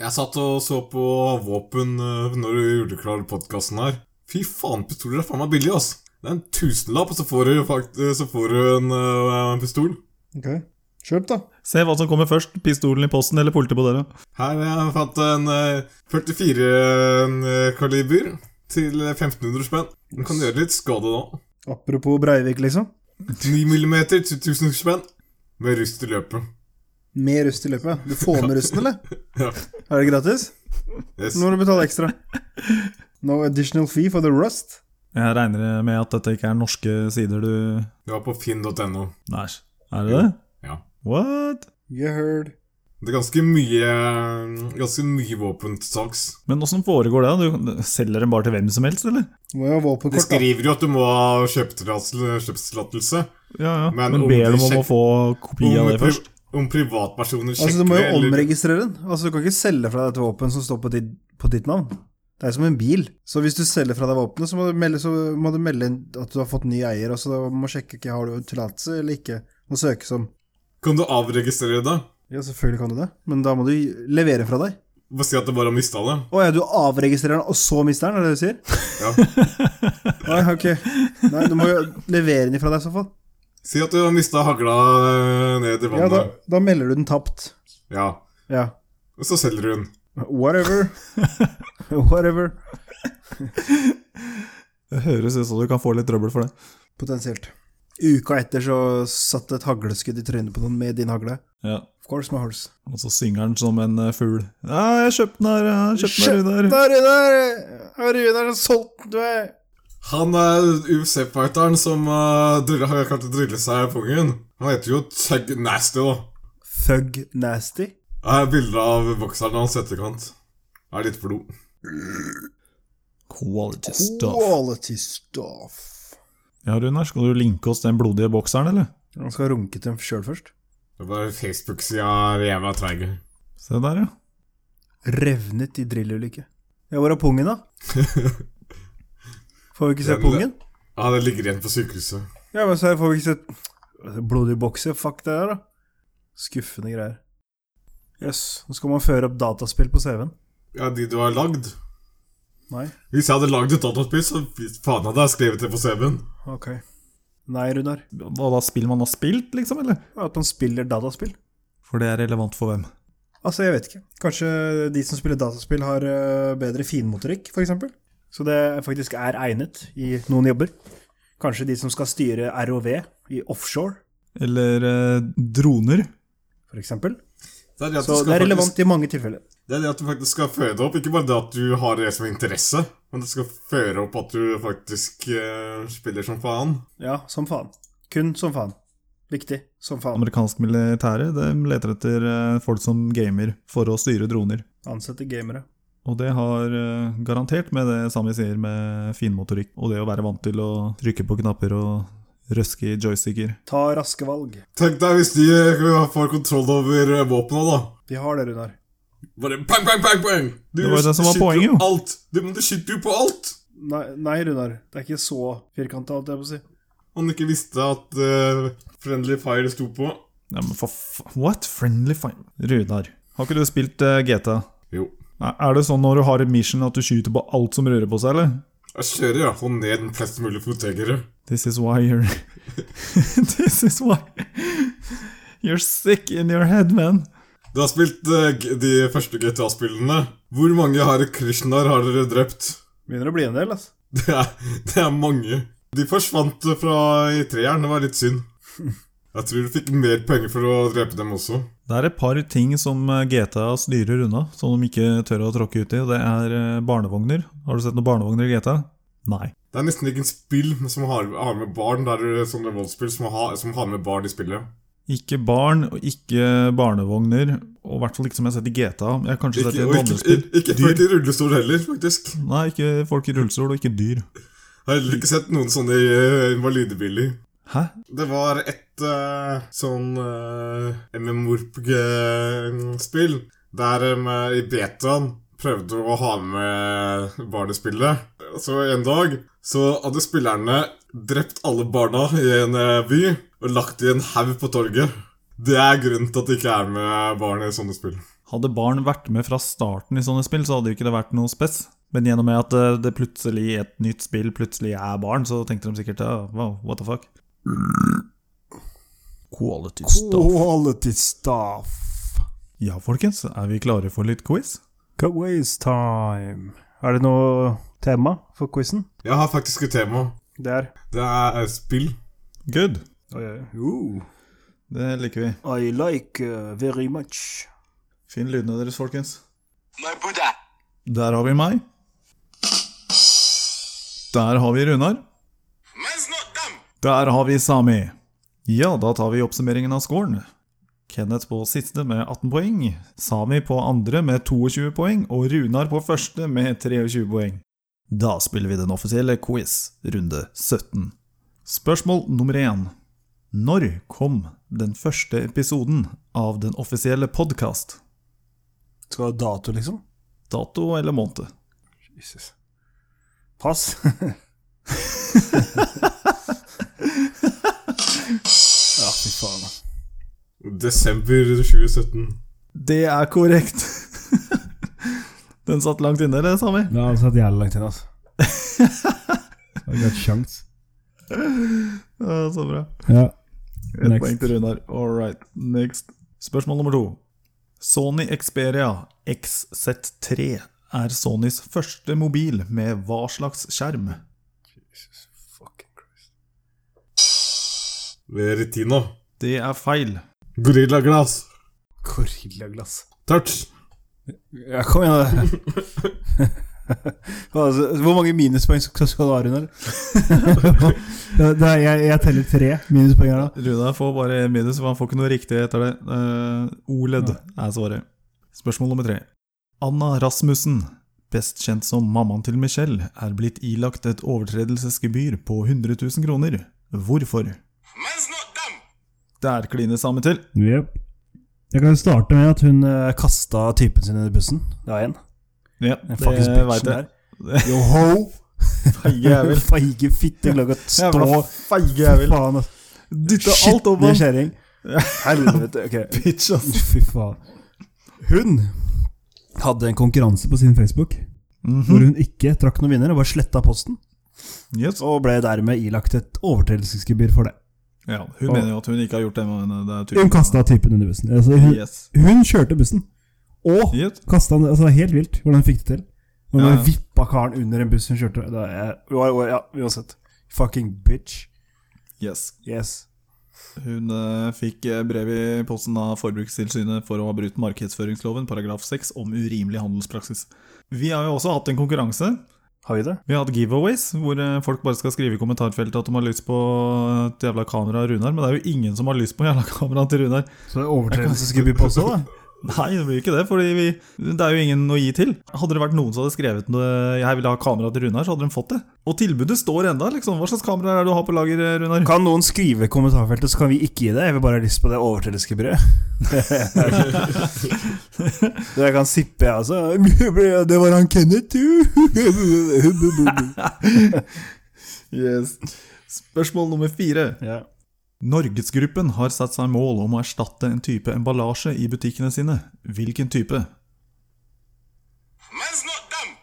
[SPEAKER 4] Jeg satt og så på våpen eh, når du gjorde klar podkasten her. Fy faen, pistoler er faen meg billig, ass. Det er en tusenlapp, og så får du, fakt så får du en, eh, en pistol.
[SPEAKER 3] Ok. Kjøp, da.
[SPEAKER 1] Se hva som kommer først, pistolen i posten eller politiet på døra.
[SPEAKER 4] Her jeg fant jeg en eh, 44 eh, kaliber til 1500 spenn. Den kan gjøre litt skade da.
[SPEAKER 3] Apropos Breivik, liksom.
[SPEAKER 4] 9 mm til 1000 spenn. Med rust i løpet.
[SPEAKER 3] Med rust i løpet. Du får med rusten, eller?
[SPEAKER 4] Ja.
[SPEAKER 3] Er det gratis?
[SPEAKER 4] Yes.
[SPEAKER 3] Nå må du betale ekstra. No additional fee for the rust.
[SPEAKER 1] Jeg regner med at dette ikke er norske sider du
[SPEAKER 4] Det var på finn.no.
[SPEAKER 1] Nei, er det det?
[SPEAKER 4] Ja.
[SPEAKER 1] What?
[SPEAKER 3] You heard.
[SPEAKER 4] Det er ganske mye, ganske mye våpen til saks.
[SPEAKER 1] Men åssen foregår det? da? Du selger dem bare til hvem som helst, eller?
[SPEAKER 3] Du må jo ha
[SPEAKER 4] De
[SPEAKER 3] våpenkort, da.
[SPEAKER 4] skriver jo at du må ha kjøptillatelse- kjøpstillatelse.
[SPEAKER 1] Ja, ja.
[SPEAKER 4] Men
[SPEAKER 1] Men,
[SPEAKER 4] om de
[SPEAKER 1] ber dem om
[SPEAKER 4] sjek-
[SPEAKER 1] å få kopi
[SPEAKER 4] Om
[SPEAKER 1] av det
[SPEAKER 4] pri-
[SPEAKER 1] først?
[SPEAKER 4] Om privatpersoner sjekker
[SPEAKER 3] Altså, du må jo
[SPEAKER 4] eller-
[SPEAKER 3] omregistrere den. Altså, du kan ikke selge fra deg et våpen som står på ditt, på ditt navn. Det er som en bil. Så hvis du selger fra deg våpenet, så må du melde, så må du melde inn at du har fått ny eier, og så da må du sjekke ikke, har du tillatelse eller ikke, og søkes om.
[SPEAKER 4] Kan du avregistrere det?
[SPEAKER 3] Ja, selvfølgelig kan du det, men da må du levere fra deg.
[SPEAKER 4] Bare si at du bare har mista det.
[SPEAKER 3] Å ja, du avregistrerer den, og så mister den, er det det du sier?
[SPEAKER 4] Ja.
[SPEAKER 3] Nei, ok. Nei, du må jo levere den ifra deg i så fall.
[SPEAKER 4] Si at du har mista hagla eh, ned i
[SPEAKER 3] Ja, da,
[SPEAKER 4] vannet.
[SPEAKER 3] da melder du den tapt.
[SPEAKER 4] Ja,
[SPEAKER 3] Ja.
[SPEAKER 4] Og så selger du den.
[SPEAKER 3] Whatever. Whatever.
[SPEAKER 1] Det høres ut som du kan få litt trøbbel for det.
[SPEAKER 3] Potensielt. Uka etter så satt et hagleskudd i trynet på noen med din hagle.
[SPEAKER 1] Ja.
[SPEAKER 3] Of course, my horse.
[SPEAKER 1] Og så synger han som en eh, fugl. Ja, jeg kjøpte den her, jeg kjøpte den her, Runar.
[SPEAKER 3] Runar! Runar! Runar har solgt den, du er!
[SPEAKER 4] Han er UFC-fighteren som uh, har klart å drille seg i pungen. Han heter jo Tug Nasty, da.
[SPEAKER 3] Thug nasty.
[SPEAKER 4] Her er bilde av bokseren hans i etterkant. Det er litt blod.
[SPEAKER 1] Quality stuff.
[SPEAKER 3] Quality stuff.
[SPEAKER 1] Ja, Runar, skal du linke oss den blodige bokseren, eller?
[SPEAKER 3] Han skal runke til dem sjøl først.
[SPEAKER 4] Det er bare Facebook-sida Reva er treig.
[SPEAKER 1] Se der, ja.
[SPEAKER 3] Revnet i drillulykke. Ja, hvor er pungen, da? Får vi ikke se
[SPEAKER 4] Den-
[SPEAKER 3] pungen?
[SPEAKER 4] Ja, det ligger igjen på sykehuset.
[SPEAKER 3] Ja, men så her får vi ikke sett blodige bokser. Fuck det der, da. Skuffende greier. Jøss. Yes. Nå skal man føre opp dataspill på CV-en.
[SPEAKER 4] Ja, de du har lagd.
[SPEAKER 3] Nei?
[SPEAKER 4] Hvis jeg hadde lagd et dataspill, så fy faen hadde jeg skrevet det på CV-en.
[SPEAKER 3] Ok. Nei, Runar.
[SPEAKER 1] Hva da, spill man har spilt, liksom? eller?
[SPEAKER 3] At man spiller dataspill?
[SPEAKER 1] For det er relevant for hvem?
[SPEAKER 3] Altså, jeg vet ikke. Kanskje de som spiller dataspill, har øh, bedre finmotorikk, f.eks. Så det faktisk er egnet i noen jobber. Kanskje de som skal styre ROV i offshore,
[SPEAKER 1] Eller eh, droner?
[SPEAKER 3] f.eks.
[SPEAKER 4] Det er det at,
[SPEAKER 3] Så det
[SPEAKER 4] du, skal
[SPEAKER 3] er
[SPEAKER 4] faktisk,
[SPEAKER 3] relevant i mange tilfeller.
[SPEAKER 4] det er det at du faktisk skal føre det opp. Ikke bare det at du har det som interesse, men det skal føre opp at du faktisk eh, spiller som faen.
[SPEAKER 3] Ja, som faen. Kun som faen. Viktig som faen.
[SPEAKER 1] Amerikansk militære de leter etter eh, folk som gamer for å styre droner.
[SPEAKER 3] Ansette gamere.
[SPEAKER 1] Og det har eh, garantert med det Sami sier med finmotorikk og det å være vant til å trykke på knapper og røske i joysticker.
[SPEAKER 3] Ta raske valg.
[SPEAKER 4] Tenk deg hvis de eh, får kontroll over eh, våpnene, da.
[SPEAKER 3] Vi har det, Runar.
[SPEAKER 4] Bare bang, bang, bang, bang! Du,
[SPEAKER 1] Det var jo det som var
[SPEAKER 4] skyter
[SPEAKER 1] poenget,
[SPEAKER 4] jo
[SPEAKER 1] jo.
[SPEAKER 4] Alt. Du, men du skyter jo på alt!
[SPEAKER 3] Nei, nei, Runar. Det er ikke så firkanta, holdt jeg på å si.
[SPEAKER 4] Han ikke visste at eh, Friendly Fire sto på.
[SPEAKER 1] Ja, men for f... What? Friendly fine Runar, har ikke du spilt eh, GTA?
[SPEAKER 4] Jo.
[SPEAKER 1] Nei, Er det sånn når du har et mission at du skyter på alt som rører på seg, eller?
[SPEAKER 4] Jeg kjører iallfall ned den flest mulig fotgjengere.
[SPEAKER 1] This is why you're This is why You're sick in your head, man.
[SPEAKER 4] Du har spilt eh, g- de første GTA-spillene. Hvor mange har Krishnar har dere drept?
[SPEAKER 3] Begynner å bli en del, altså.
[SPEAKER 4] Det er, det er mange. De forsvant fra i treeren, det var litt synd. Jeg tror du fikk mer penger for å drepe dem også.
[SPEAKER 1] Det er et par ting som eh, GTA styrer unna, som de ikke tør å tråkke ut i. og Det er eh, barnevogner. Har du sett noen barnevogner i GTA? Nei.
[SPEAKER 4] Det er nesten ikke en spill som har, har med barn. Det er eh, sånne voldsspill som har, som har med barn i spillet.
[SPEAKER 1] Ikke barn, og ikke barnevogner, og i hvert fall ikke som jeg har sett i GTA. Jeg har kanskje
[SPEAKER 4] Ikke,
[SPEAKER 1] sett
[SPEAKER 4] og
[SPEAKER 1] det i et
[SPEAKER 4] ikke,
[SPEAKER 1] vandrespill.
[SPEAKER 4] ikke folk i rullestol heller, faktisk.
[SPEAKER 1] Nei, ikke folk i rullestol, og ikke dyr.
[SPEAKER 4] Jeg har heller ikke sett noen sånne eh, invalidebiler.
[SPEAKER 1] Hæ?
[SPEAKER 4] Det var et eh, sånn uh, MMORPG-spill der eh, i betaen prøvde å ha med barnespillet. Så en dag så hadde spillerne drept alle barna i en eh, by og lagt i en haug på torget. Det er grunnen til at det ikke er med barn i sånne spill.
[SPEAKER 1] Hadde barn vært med fra starten i sånne spill, så hadde det ikke det vært noe spess. Men gjennom at eh, det plutselig i et nytt spill plutselig er barn, så tenkte de sikkert ja, wow, what the fuck. Quality
[SPEAKER 3] Quality stuff.
[SPEAKER 1] Ja, folkens, er vi klare for litt quiz?
[SPEAKER 3] Cut waste time. Er det noe tema for quizen?
[SPEAKER 4] Jeg har faktisk et tema.
[SPEAKER 3] Det er
[SPEAKER 4] Det er eh, spill.
[SPEAKER 1] Good.
[SPEAKER 3] Oi, oi. Ooh.
[SPEAKER 1] Det liker vi.
[SPEAKER 3] I like uh, very much.
[SPEAKER 1] Finn lydene deres, folkens.
[SPEAKER 5] My Buddha.
[SPEAKER 1] Der har vi meg. Der har vi Runar.
[SPEAKER 5] Man's not dumb.
[SPEAKER 1] Der har vi Sami. Ja, da tar vi oppsummeringen av scoren. Kenneth på siste med 18 poeng, Sami på andre med 22 poeng og Runar på første med 23 poeng. Da spiller vi den offisielle quiz, runde 17. Spørsmål nummer 1. Når kom den første episoden av den offisielle podkast?
[SPEAKER 3] Skal ha dato, liksom?
[SPEAKER 1] Dato eller måned?
[SPEAKER 3] Jesus. Pass. ja, fy faen. da.
[SPEAKER 4] Desember 2017.
[SPEAKER 1] Det er korrekt. Den satt langt inne, det, Sami.
[SPEAKER 3] Ja, han satt jævlig langt inne, altså. Har ikke hatt sjans.
[SPEAKER 1] Ja, så bra.
[SPEAKER 3] Ja.
[SPEAKER 1] Ett
[SPEAKER 3] Next.
[SPEAKER 1] poeng til Runar. All right, next. Spørsmål nummer to. Sony Xperia XZ3 er Sonys første mobil med hva slags skjerm?
[SPEAKER 3] Fucking Christ.
[SPEAKER 4] Retina.
[SPEAKER 1] Det er feil.
[SPEAKER 4] Gorilla Glass.
[SPEAKER 3] Gorillaglass.
[SPEAKER 4] Touch.
[SPEAKER 3] Ja, kom igjen, da. altså, hvor mange minuspoeng skal skal du ha, Runar? jeg, teller tre minuspoeng her, da.
[SPEAKER 1] Runar får bare en minus, for han får ikke noe riktig etter det. Eh, OLED er svaret. Spørsmål nummer tre. Anna Rasmussen, best kjent som mammaen til Michelle, er blitt ilagt et overtredelsesgebyr på 100 000 kroner. Hvorfor?
[SPEAKER 5] Man's not dumb.
[SPEAKER 1] Der kliner Sami til.
[SPEAKER 3] Jeg kan jo starte med at hun uh, kasta typen sin i bussen. Det var én.
[SPEAKER 1] Ja,
[SPEAKER 3] Den fuckings bitchen der. Yo ho,
[SPEAKER 1] Feige jævel.
[SPEAKER 3] Feige fitte, glad å
[SPEAKER 1] Jævla
[SPEAKER 3] stå
[SPEAKER 1] feige
[SPEAKER 3] Fy
[SPEAKER 1] jævel.
[SPEAKER 3] faen, ass.
[SPEAKER 1] Dytte alt over
[SPEAKER 3] Skitne
[SPEAKER 1] den.
[SPEAKER 3] kjerring. Helvete. Ok.
[SPEAKER 1] Bitch, ass.
[SPEAKER 3] Fy faen. Hun hadde en konkurranse på sin Facebook
[SPEAKER 1] Mhm.
[SPEAKER 3] hvor hun ikke trakk noen vinner og bare sletta posten.
[SPEAKER 1] Yes.
[SPEAKER 3] Og ble dermed ilagt et overtredelsesgebyr for det.
[SPEAKER 1] Ja, hun mener jo at hun ikke har gjort det, men eh, det er
[SPEAKER 3] Hun
[SPEAKER 1] tydelig.
[SPEAKER 3] kasta typen under bussen. Altså, hun,
[SPEAKER 1] Yes.
[SPEAKER 3] hun kjørte bussen. Og
[SPEAKER 1] Yes.
[SPEAKER 3] kastet han altså, det er Helt vilt hvordan hun fikk det til. Hun
[SPEAKER 1] Ja,
[SPEAKER 3] bare
[SPEAKER 1] ja.
[SPEAKER 3] vippa karen under en buss hun kjørte. Da er, ja, ja, uansett. Fucking bitch.
[SPEAKER 1] yes.
[SPEAKER 3] Yes.
[SPEAKER 1] Hun eh, fikk eh, brev i posten av Forbrukstilsynet for å ha brutt markedsføringsloven paragraf 6 om urimelig handelspraksis. Vi har jo også hatt en konkurranse.
[SPEAKER 3] Har vi det?
[SPEAKER 1] Vi har hatt giveaways, hvor eh, folk bare skal skrive i kommentarfeltet at de har lyst på et jævla kamera av Runar, men det er jo ingen som har lyst på jævla kameraet til Runar.
[SPEAKER 3] Så det er overtredelsesgebyr på også, da?
[SPEAKER 1] Nei, det blir jo ikke det, fordi vi, det er jo ingen å gi til. Hadde det vært noen som hadde skrevet noe, 'jeg vil ha kamera til Runar', så hadde de fått det. Og tilbudet står enda, liksom. Hva slags kamera er det du har på lager, eh, Runar?
[SPEAKER 3] Kan noen skrive i kommentarfeltet, så kan vi ikke gi det? Jeg vil bare ha lyst på det overtredelsesgebyret. Så jeg kan sippe, jeg, altså. Det var han Kenneth, du!
[SPEAKER 1] Yes. Spørsmål nummer fire.
[SPEAKER 3] ja.
[SPEAKER 1] Norgesgruppen har satt seg mål om å erstatte en type emballasje i butikkene sine. Hvilken type?
[SPEAKER 5] Man's not dumb.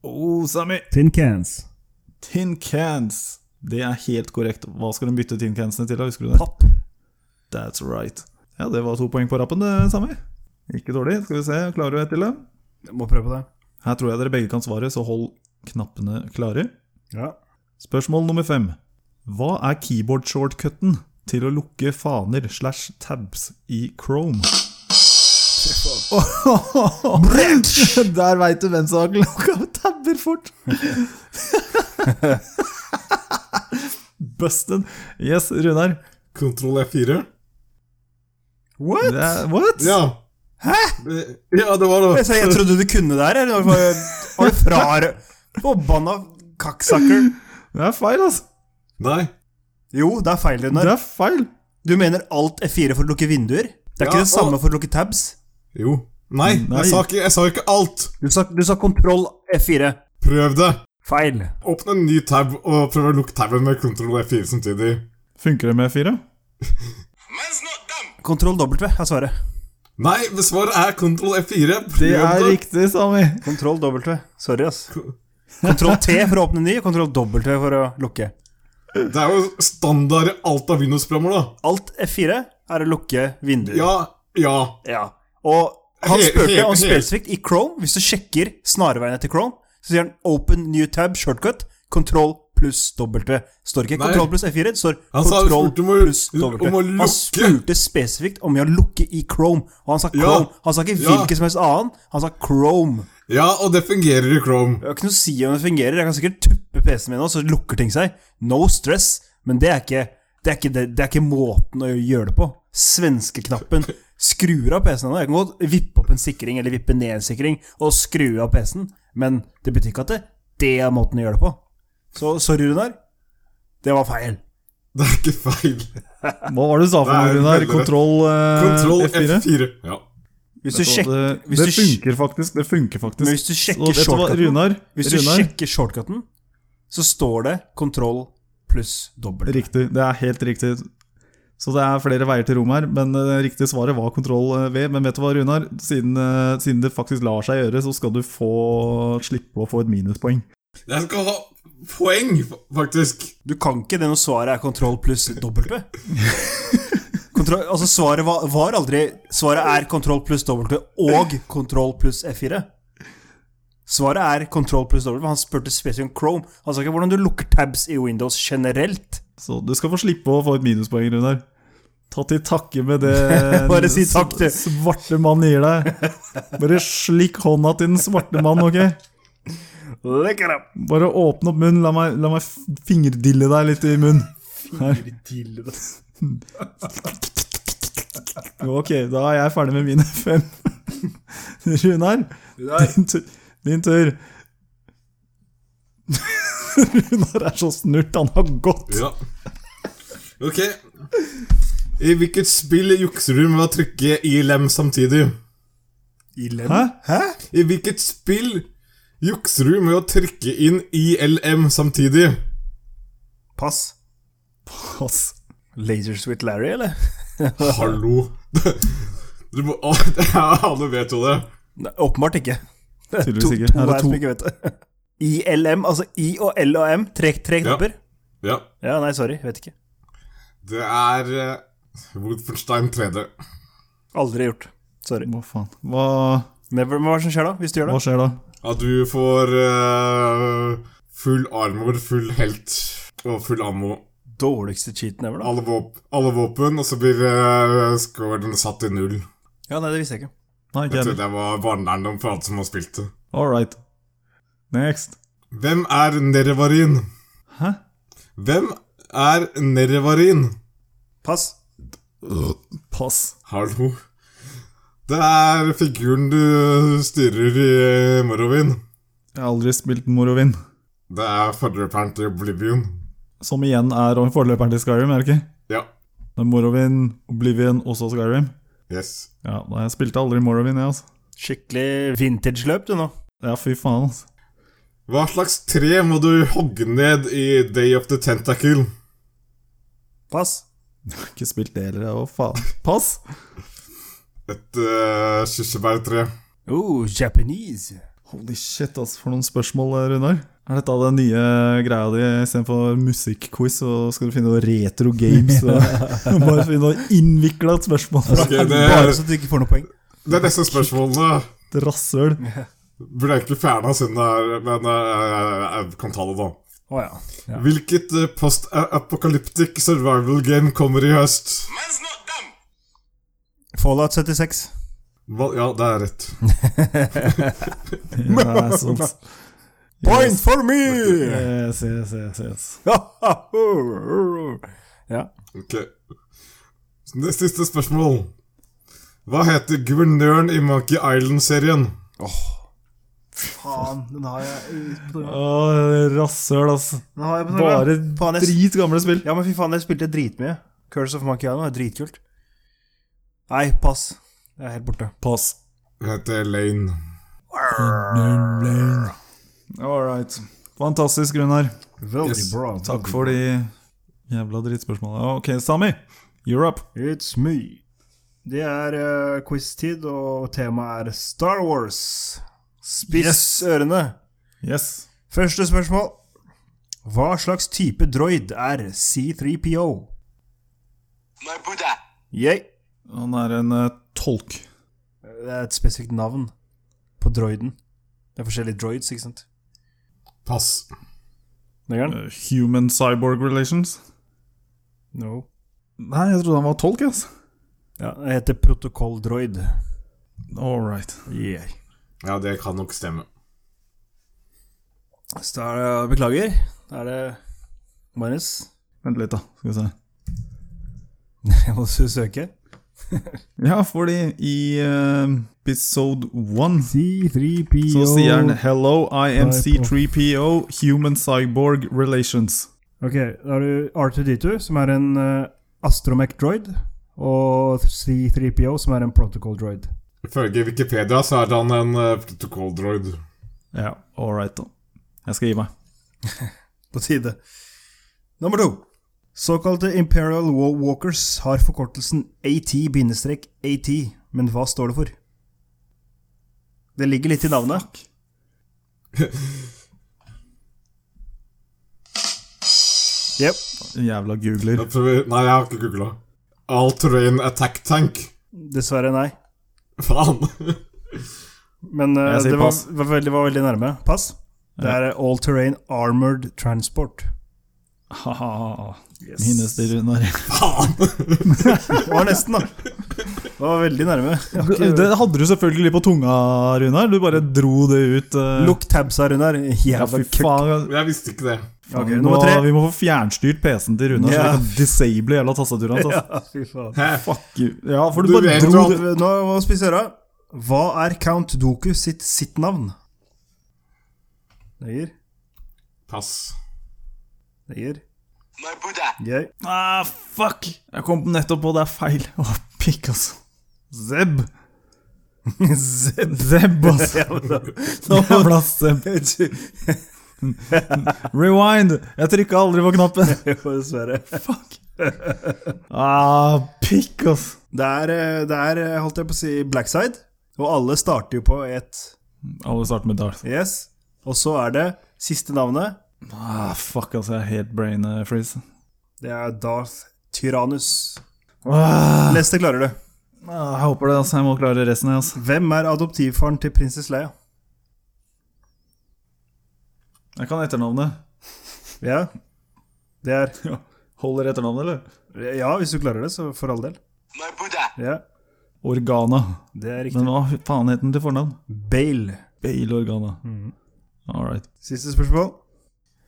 [SPEAKER 1] Oh, Sami!
[SPEAKER 3] Tin cans.
[SPEAKER 1] Tin cans. Det er helt korrekt. Hva skal de bytte tin cansene til? da? Husker du det?
[SPEAKER 3] Papp.
[SPEAKER 1] That's right. Ja, det var to poeng på rappen, det, Sami. Ikke dårlig. Skal vi se, klarer du ett til? da?
[SPEAKER 3] Jeg må prøve på det.
[SPEAKER 1] Her tror jeg dere begge kan svare, så hold knappene klare.
[SPEAKER 3] Ja.
[SPEAKER 1] Spørsmål nummer fem. Hva er keyboard-shortcutten til å lukke faner slash tabs i Chrome? Der veit du hvem som har lukka tabber fort! Busten. Yes, Runar.
[SPEAKER 4] Kontroll F4.
[SPEAKER 3] What?
[SPEAKER 1] Det er, what?
[SPEAKER 4] Ja. Hæ? Ja, det var
[SPEAKER 3] Jeg, sa,
[SPEAKER 4] det.
[SPEAKER 3] jeg trodde du kunne det her. eller? Var var du frar... Forbanna kakksakker.
[SPEAKER 1] Det er feil, altså.
[SPEAKER 4] Nei.
[SPEAKER 3] Jo, det er feil,
[SPEAKER 1] Det
[SPEAKER 3] Runar.
[SPEAKER 1] er feil.
[SPEAKER 3] Du mener alt F4 for å lukke vinduer? Det er
[SPEAKER 4] Ja,
[SPEAKER 3] ikke det samme
[SPEAKER 4] og-
[SPEAKER 3] for å lukke tabs?
[SPEAKER 4] Jo. Nei,
[SPEAKER 1] Nei.
[SPEAKER 4] Jeg, sa ikke, jeg sa ikke alt.
[SPEAKER 3] Du sa, du sa kontroll F4.
[SPEAKER 4] Prøv det.
[SPEAKER 3] Feil.
[SPEAKER 4] Åpne en ny tab og prøv å lukke taben med kontroll F4 samtidig.
[SPEAKER 1] Funker det med fire?
[SPEAKER 5] Man's not dumb.
[SPEAKER 3] Kontroll W er svaret.
[SPEAKER 4] Nei, svaret er kontroll F4. Prøv
[SPEAKER 1] Det er riktig, Sami.
[SPEAKER 3] Kontroll W. Sorry, ass. Kontroll T for å åpne ny, kontroll W for å lukke.
[SPEAKER 4] Det er jo standard i alt av Windows-programmer, da.
[SPEAKER 3] Alt F4 er å lukke vinduer.
[SPEAKER 4] Ja, ja.
[SPEAKER 3] Ja. Og han
[SPEAKER 4] He- he-
[SPEAKER 3] spurte om
[SPEAKER 4] he-
[SPEAKER 3] spesifikt i Chrome, hvis du sjekker snarveiene til Chrome, så sier han 'open new tab shortcut', kontroll pluss W. Står ikke
[SPEAKER 4] Nei.
[SPEAKER 3] kontroll pluss F4, det står
[SPEAKER 4] Han sa-
[SPEAKER 3] kontroll
[SPEAKER 4] spurte om å-
[SPEAKER 3] pluss W.
[SPEAKER 4] om å
[SPEAKER 3] Han
[SPEAKER 4] lukke.
[SPEAKER 3] spurte spesifikt om å lukke i Chrome, og han sa Chrome. Han sa ikke
[SPEAKER 4] Ja.
[SPEAKER 3] hvilken som helst annen, han sa Chrome.
[SPEAKER 4] Ja, og det fungerer i Chrome.
[SPEAKER 3] Jeg har ikke noe å si om det fungerer, jeg kan sikkert tuppe PC-en min nå, så lukker ting seg. No stress, men det er ikke det er, ikke, det, det er ikke måten å gjøre det på. Svenskeknappen skrur av PC-en ennå. Jeg kan godt vippe opp en sikring eller vippe ned en sikring og skru av PC-en, men det betyr ikke at det, det er måten å gjøre det på. Så sorry, Runar. Det var feil.
[SPEAKER 4] Det er ikke feil.
[SPEAKER 1] Hva var det du sa for
[SPEAKER 4] Det
[SPEAKER 1] noe,
[SPEAKER 4] er
[SPEAKER 1] Runar?
[SPEAKER 4] veldig rett.
[SPEAKER 1] Kontroll, eh,
[SPEAKER 4] Kontroll
[SPEAKER 1] F4?
[SPEAKER 4] F4. Ja.
[SPEAKER 3] Hvis du
[SPEAKER 1] Vet du hva,
[SPEAKER 3] sjekker,
[SPEAKER 1] det,
[SPEAKER 3] hvis
[SPEAKER 1] det
[SPEAKER 3] du sj-
[SPEAKER 1] funker faktisk. Det funker faktisk.
[SPEAKER 3] Men hvis du sjekker
[SPEAKER 1] Og vet hva,
[SPEAKER 3] shortcuten-
[SPEAKER 1] Runar,
[SPEAKER 3] hvis du
[SPEAKER 1] Runar
[SPEAKER 3] sjekker shortcuten, så står det kontroll pluss dobbel.
[SPEAKER 1] Riktig. Det er helt riktig. Så det er flere veier til rom her, men eh, riktig svaret var kontroll eh, V. Men vet du hva, Runar? Siden, eh, siden det faktisk lar seg gjøre, så skal du få slippe å få et minuspoeng.
[SPEAKER 4] Jeg skal ha poeng, fa- faktisk.
[SPEAKER 3] Du kan ikke det når svaret er kontroll pluss W. Kontroll, altså svaret var, var aldri Svaret er kontroll pluss W og kontroll pluss F4. Svaret er kontroll pluss W. Han spurte spesifikt om Chrome. Han sa ikke hvordan du lukker tabs i Windows generelt.
[SPEAKER 1] Så du skal få slippe å få et minuspoeng, Runar. Ta til takke med det
[SPEAKER 3] Bare si takk, du.
[SPEAKER 1] s- svarte mann gir deg. Bare slikk hånda til den svarte mann, ok?
[SPEAKER 3] Look it up.
[SPEAKER 1] Bare åpne opp munnen. La meg, la meg f- fingerdille deg litt i munnen. Ok, da er jeg ferdig med mine fem. Runar, din, tu din tur. Runar er så snurt, han har gått.
[SPEAKER 4] Ja. Ok. I hvilket spill jukser du med å trykke i lem samtidig?
[SPEAKER 3] I
[SPEAKER 1] Hæ?
[SPEAKER 3] lem. Hæ?
[SPEAKER 4] I hvilket spill Jukser du med å trykke inn ILM samtidig?
[SPEAKER 3] Pass.
[SPEAKER 1] Pass.
[SPEAKER 3] Lasers with Larry, eller?
[SPEAKER 4] Hallo! Du må, å, det er, alle vet jo det.
[SPEAKER 3] Nei, åpenbart ikke. Det er
[SPEAKER 1] Tydeligvis
[SPEAKER 3] to,
[SPEAKER 1] ikke.
[SPEAKER 3] to
[SPEAKER 1] Er det
[SPEAKER 3] her som
[SPEAKER 1] to?
[SPEAKER 3] ikke vet det. ILM, altså I og L og M. Tre, tre
[SPEAKER 4] Ja.
[SPEAKER 3] knapper.
[SPEAKER 4] Ja,
[SPEAKER 3] Ja. nei, sorry. Vet ikke.
[SPEAKER 4] det er eh, Wolfenstein 3D.
[SPEAKER 3] Aldri gjort. Sorry.
[SPEAKER 1] Hva faen? Hva,
[SPEAKER 3] Never, men hva er det som skjer da, hvis du gjør
[SPEAKER 1] hva
[SPEAKER 3] det?
[SPEAKER 1] skjer da?
[SPEAKER 4] At du får eh, full armor, full helt og full ammo.
[SPEAKER 3] Dårligste cheaten ever, da.
[SPEAKER 4] Alle, våp alle våpen, og så blir eh, scoren satt i null.
[SPEAKER 3] Ja, nei, det visste jeg ikke.
[SPEAKER 1] Nei, ikke
[SPEAKER 4] Jeg tror
[SPEAKER 1] heller.
[SPEAKER 4] det var barnelærdom for alle som har spilt det.
[SPEAKER 1] All right. Next.
[SPEAKER 4] Hvem er Nerevarin?
[SPEAKER 1] Hæ?
[SPEAKER 4] Hvem er Nerevarin?
[SPEAKER 3] Pass.
[SPEAKER 1] Pass.
[SPEAKER 4] Hallo. Det er figuren du styrer i Morrowind.
[SPEAKER 1] Jeg har aldri spilt Morrowind.
[SPEAKER 4] Det er forløperen til Oblivion.
[SPEAKER 1] Som igjen er forløperen til Skyrim, er det ikke?
[SPEAKER 4] Ja.
[SPEAKER 1] Det er Morrowind, Oblivion og så Skyrim.
[SPEAKER 4] Yes.
[SPEAKER 1] Ja, nei, jeg spilte aldri Morrowind, jeg, altså.
[SPEAKER 3] Skikkelig vintage-løp, du nå.
[SPEAKER 1] Ja, fy faen, altså.
[SPEAKER 4] Hva slags tre må du hogge ned i Day of the Tentacle?
[SPEAKER 3] Pass.
[SPEAKER 1] Jeg har ikke spilt det heller, jeg. Å, faen. Pass!
[SPEAKER 4] Et uh, kirsebærtre.
[SPEAKER 3] Oh, Japanese.
[SPEAKER 1] Holy shit, altså, for noen spørsmål, eh, Runar. Er dette den nye greia di? Istedenfor musikkquiz, så skal du finne noe retro games. Og bare finne noe innvikla spørsmål fra
[SPEAKER 4] Ok, det,
[SPEAKER 3] Bare så du ikke får noe poeng.
[SPEAKER 4] det er neste spørsmålet.
[SPEAKER 1] et rasshøl.
[SPEAKER 4] Burde egentlig fjerna siden det er Men eh, jeg kan ta det, da.
[SPEAKER 3] Å ja. ja.
[SPEAKER 4] Hvilket eh, post-apocalyptic survival game kommer i høst?
[SPEAKER 5] Man's not dumb.
[SPEAKER 3] Fallout 76.
[SPEAKER 4] Hva? Ja, det er rett.
[SPEAKER 1] Ja, det er sånn.
[SPEAKER 3] Point for me!
[SPEAKER 1] Yes, yes, yes, yes.
[SPEAKER 3] ja.
[SPEAKER 4] Ok. Så Det siste spørsmål. Hva heter guvernøren i Monkey Island-serien?
[SPEAKER 3] Faen, den har jeg
[SPEAKER 1] Å, rasshøl, altså.
[SPEAKER 3] Den har jeg på
[SPEAKER 1] Bare
[SPEAKER 3] Faen, jeg-
[SPEAKER 1] drit gamle spill.
[SPEAKER 3] Ja, men fy faen, jeg spilte dritmye. Curse of Monkey Island er dritkult. Nei, pass. Jeg er helt borte.
[SPEAKER 1] Pass.
[SPEAKER 4] Hun heter Elaine.
[SPEAKER 1] All right. Fantastisk, Runar.
[SPEAKER 3] Veldig
[SPEAKER 4] Yes.
[SPEAKER 3] bra.
[SPEAKER 1] Takk for de jævla drittspørsmåla. Ok, Sami. You're up.
[SPEAKER 3] It's me. Det er eh, quiz-tid, og temaet er Star Wars. Spiss ørene.
[SPEAKER 1] Yes.
[SPEAKER 3] Første spørsmål. Hva slags type droid er C3PO?
[SPEAKER 5] My Buddha.
[SPEAKER 3] Yay.
[SPEAKER 1] Han er en eh, tolk.
[SPEAKER 3] Det er et spesifikt navn på droiden. Det er forskjellige droids, ikke sant?
[SPEAKER 4] Pass.
[SPEAKER 3] Negeren?
[SPEAKER 1] Eh, human cyborg relations.
[SPEAKER 3] No.
[SPEAKER 1] Nei, jeg trodde han var tolk, altså.
[SPEAKER 3] Ja, det heter protokolldroid.
[SPEAKER 1] All right.
[SPEAKER 3] Yeah.
[SPEAKER 4] Ja, det kan nok stemme.
[SPEAKER 3] Så da er det- eh, beklager. Da er det Magnus.
[SPEAKER 1] Vent litt, da. Skal vi se.
[SPEAKER 3] Jeg må su- søke.
[SPEAKER 1] Ja, fordi i eh, episode one
[SPEAKER 3] C3PO
[SPEAKER 1] så sier han 'Hello, I am C3PO, human cyborg relations'.
[SPEAKER 3] Ok, da har du R2D2, som er en eh, astromech-droid, og C3PO, som er en protocol-droid.
[SPEAKER 4] Ifølge Wikipedia så er han en eh, protokolldroid.
[SPEAKER 1] Ja, all right, da. Jeg skal gi meg.
[SPEAKER 3] På tide. Nummer to. Såkalte Imperial Wa- Walkers har forkortelsen AT-AT, men hva står det for? Det ligger litt i navnet. Jepp.
[SPEAKER 1] Jævla googler.
[SPEAKER 4] Jeg prøver- Nei, jeg har ikke googla. All terrain attack tank.
[SPEAKER 3] Dessverre, nei.
[SPEAKER 4] Faen.
[SPEAKER 3] Men eh,
[SPEAKER 1] Jeg sier
[SPEAKER 3] det var,
[SPEAKER 1] pass.
[SPEAKER 3] var, veldig, var veldig nærme. Pass. Det er All Terrain Armored Transport.
[SPEAKER 1] Ha-ha. Minnes det, Runar.
[SPEAKER 3] Det var nesten, da. Det var veldig nærme. Jeg har ikke-
[SPEAKER 1] Det hadde du selvfølgelig på tunga, Runar. Du bare dro det ut. eh.
[SPEAKER 3] Lukk tabs her, Runar.
[SPEAKER 1] Ja,
[SPEAKER 3] Jævla
[SPEAKER 1] fy
[SPEAKER 3] køkk.
[SPEAKER 1] faen.
[SPEAKER 4] Jeg visste ikke det.
[SPEAKER 3] Ok,
[SPEAKER 1] vi, må,
[SPEAKER 3] nummer tre.
[SPEAKER 1] vi må få fjernstyrt PC-en til Runar,
[SPEAKER 3] Ja.
[SPEAKER 1] så vi kan disable jævla tastaturet hans. altså.
[SPEAKER 3] Ja, fy faen.
[SPEAKER 4] Hæ?
[SPEAKER 1] Gud. Ja, for du,
[SPEAKER 4] Du
[SPEAKER 1] bare
[SPEAKER 4] vet
[SPEAKER 1] dro
[SPEAKER 4] jo
[SPEAKER 1] det
[SPEAKER 4] at-
[SPEAKER 3] Nå må vi spise øra. Hva er Count Doku sitt, sitt navn? Neger.
[SPEAKER 4] Pass.
[SPEAKER 3] Neger.
[SPEAKER 5] My Buddha.
[SPEAKER 3] Gøy.
[SPEAKER 1] Ah, fuck! Jeg kom nettopp på det er feil. Å, pikk, altså. Zeb.
[SPEAKER 3] Zeb.
[SPEAKER 1] Zeb, ass.
[SPEAKER 3] Ja, men da-
[SPEAKER 1] Jævla Zeb. Rewind! Jeg trykka aldri på knappen.
[SPEAKER 3] Det var Dessverre.
[SPEAKER 1] Fuck. Ah, pikk, ass.
[SPEAKER 3] Det er, eh, det er, eh, holdt jeg på å si, blackside. Og alle starter jo på et
[SPEAKER 1] Alle starter med Darth.
[SPEAKER 3] yes. Og så er det siste navnet.
[SPEAKER 1] Ah, fuck, ass. Jeg er helt brain eh, freeze.
[SPEAKER 3] Det er Darth Tyrannus.
[SPEAKER 1] Ah,
[SPEAKER 3] Neste klarer du.
[SPEAKER 1] jeg håper det, ass. Jeg må klare resten, jeg, ass.
[SPEAKER 3] Hvem er adoptivfaren til prinsesse Leia?
[SPEAKER 1] Jeg kan etternavnet.
[SPEAKER 3] Ja, det er
[SPEAKER 1] Holder etternavnet, eller?
[SPEAKER 3] Ja, hvis du klarer det, så for all del.
[SPEAKER 5] My Buddha.
[SPEAKER 3] Ja,
[SPEAKER 1] Organa.
[SPEAKER 3] det er riktig.
[SPEAKER 1] Men hva faen het den til fornavn?
[SPEAKER 3] Bale.
[SPEAKER 1] Bale Organa. All right.
[SPEAKER 3] Siste spørsmål.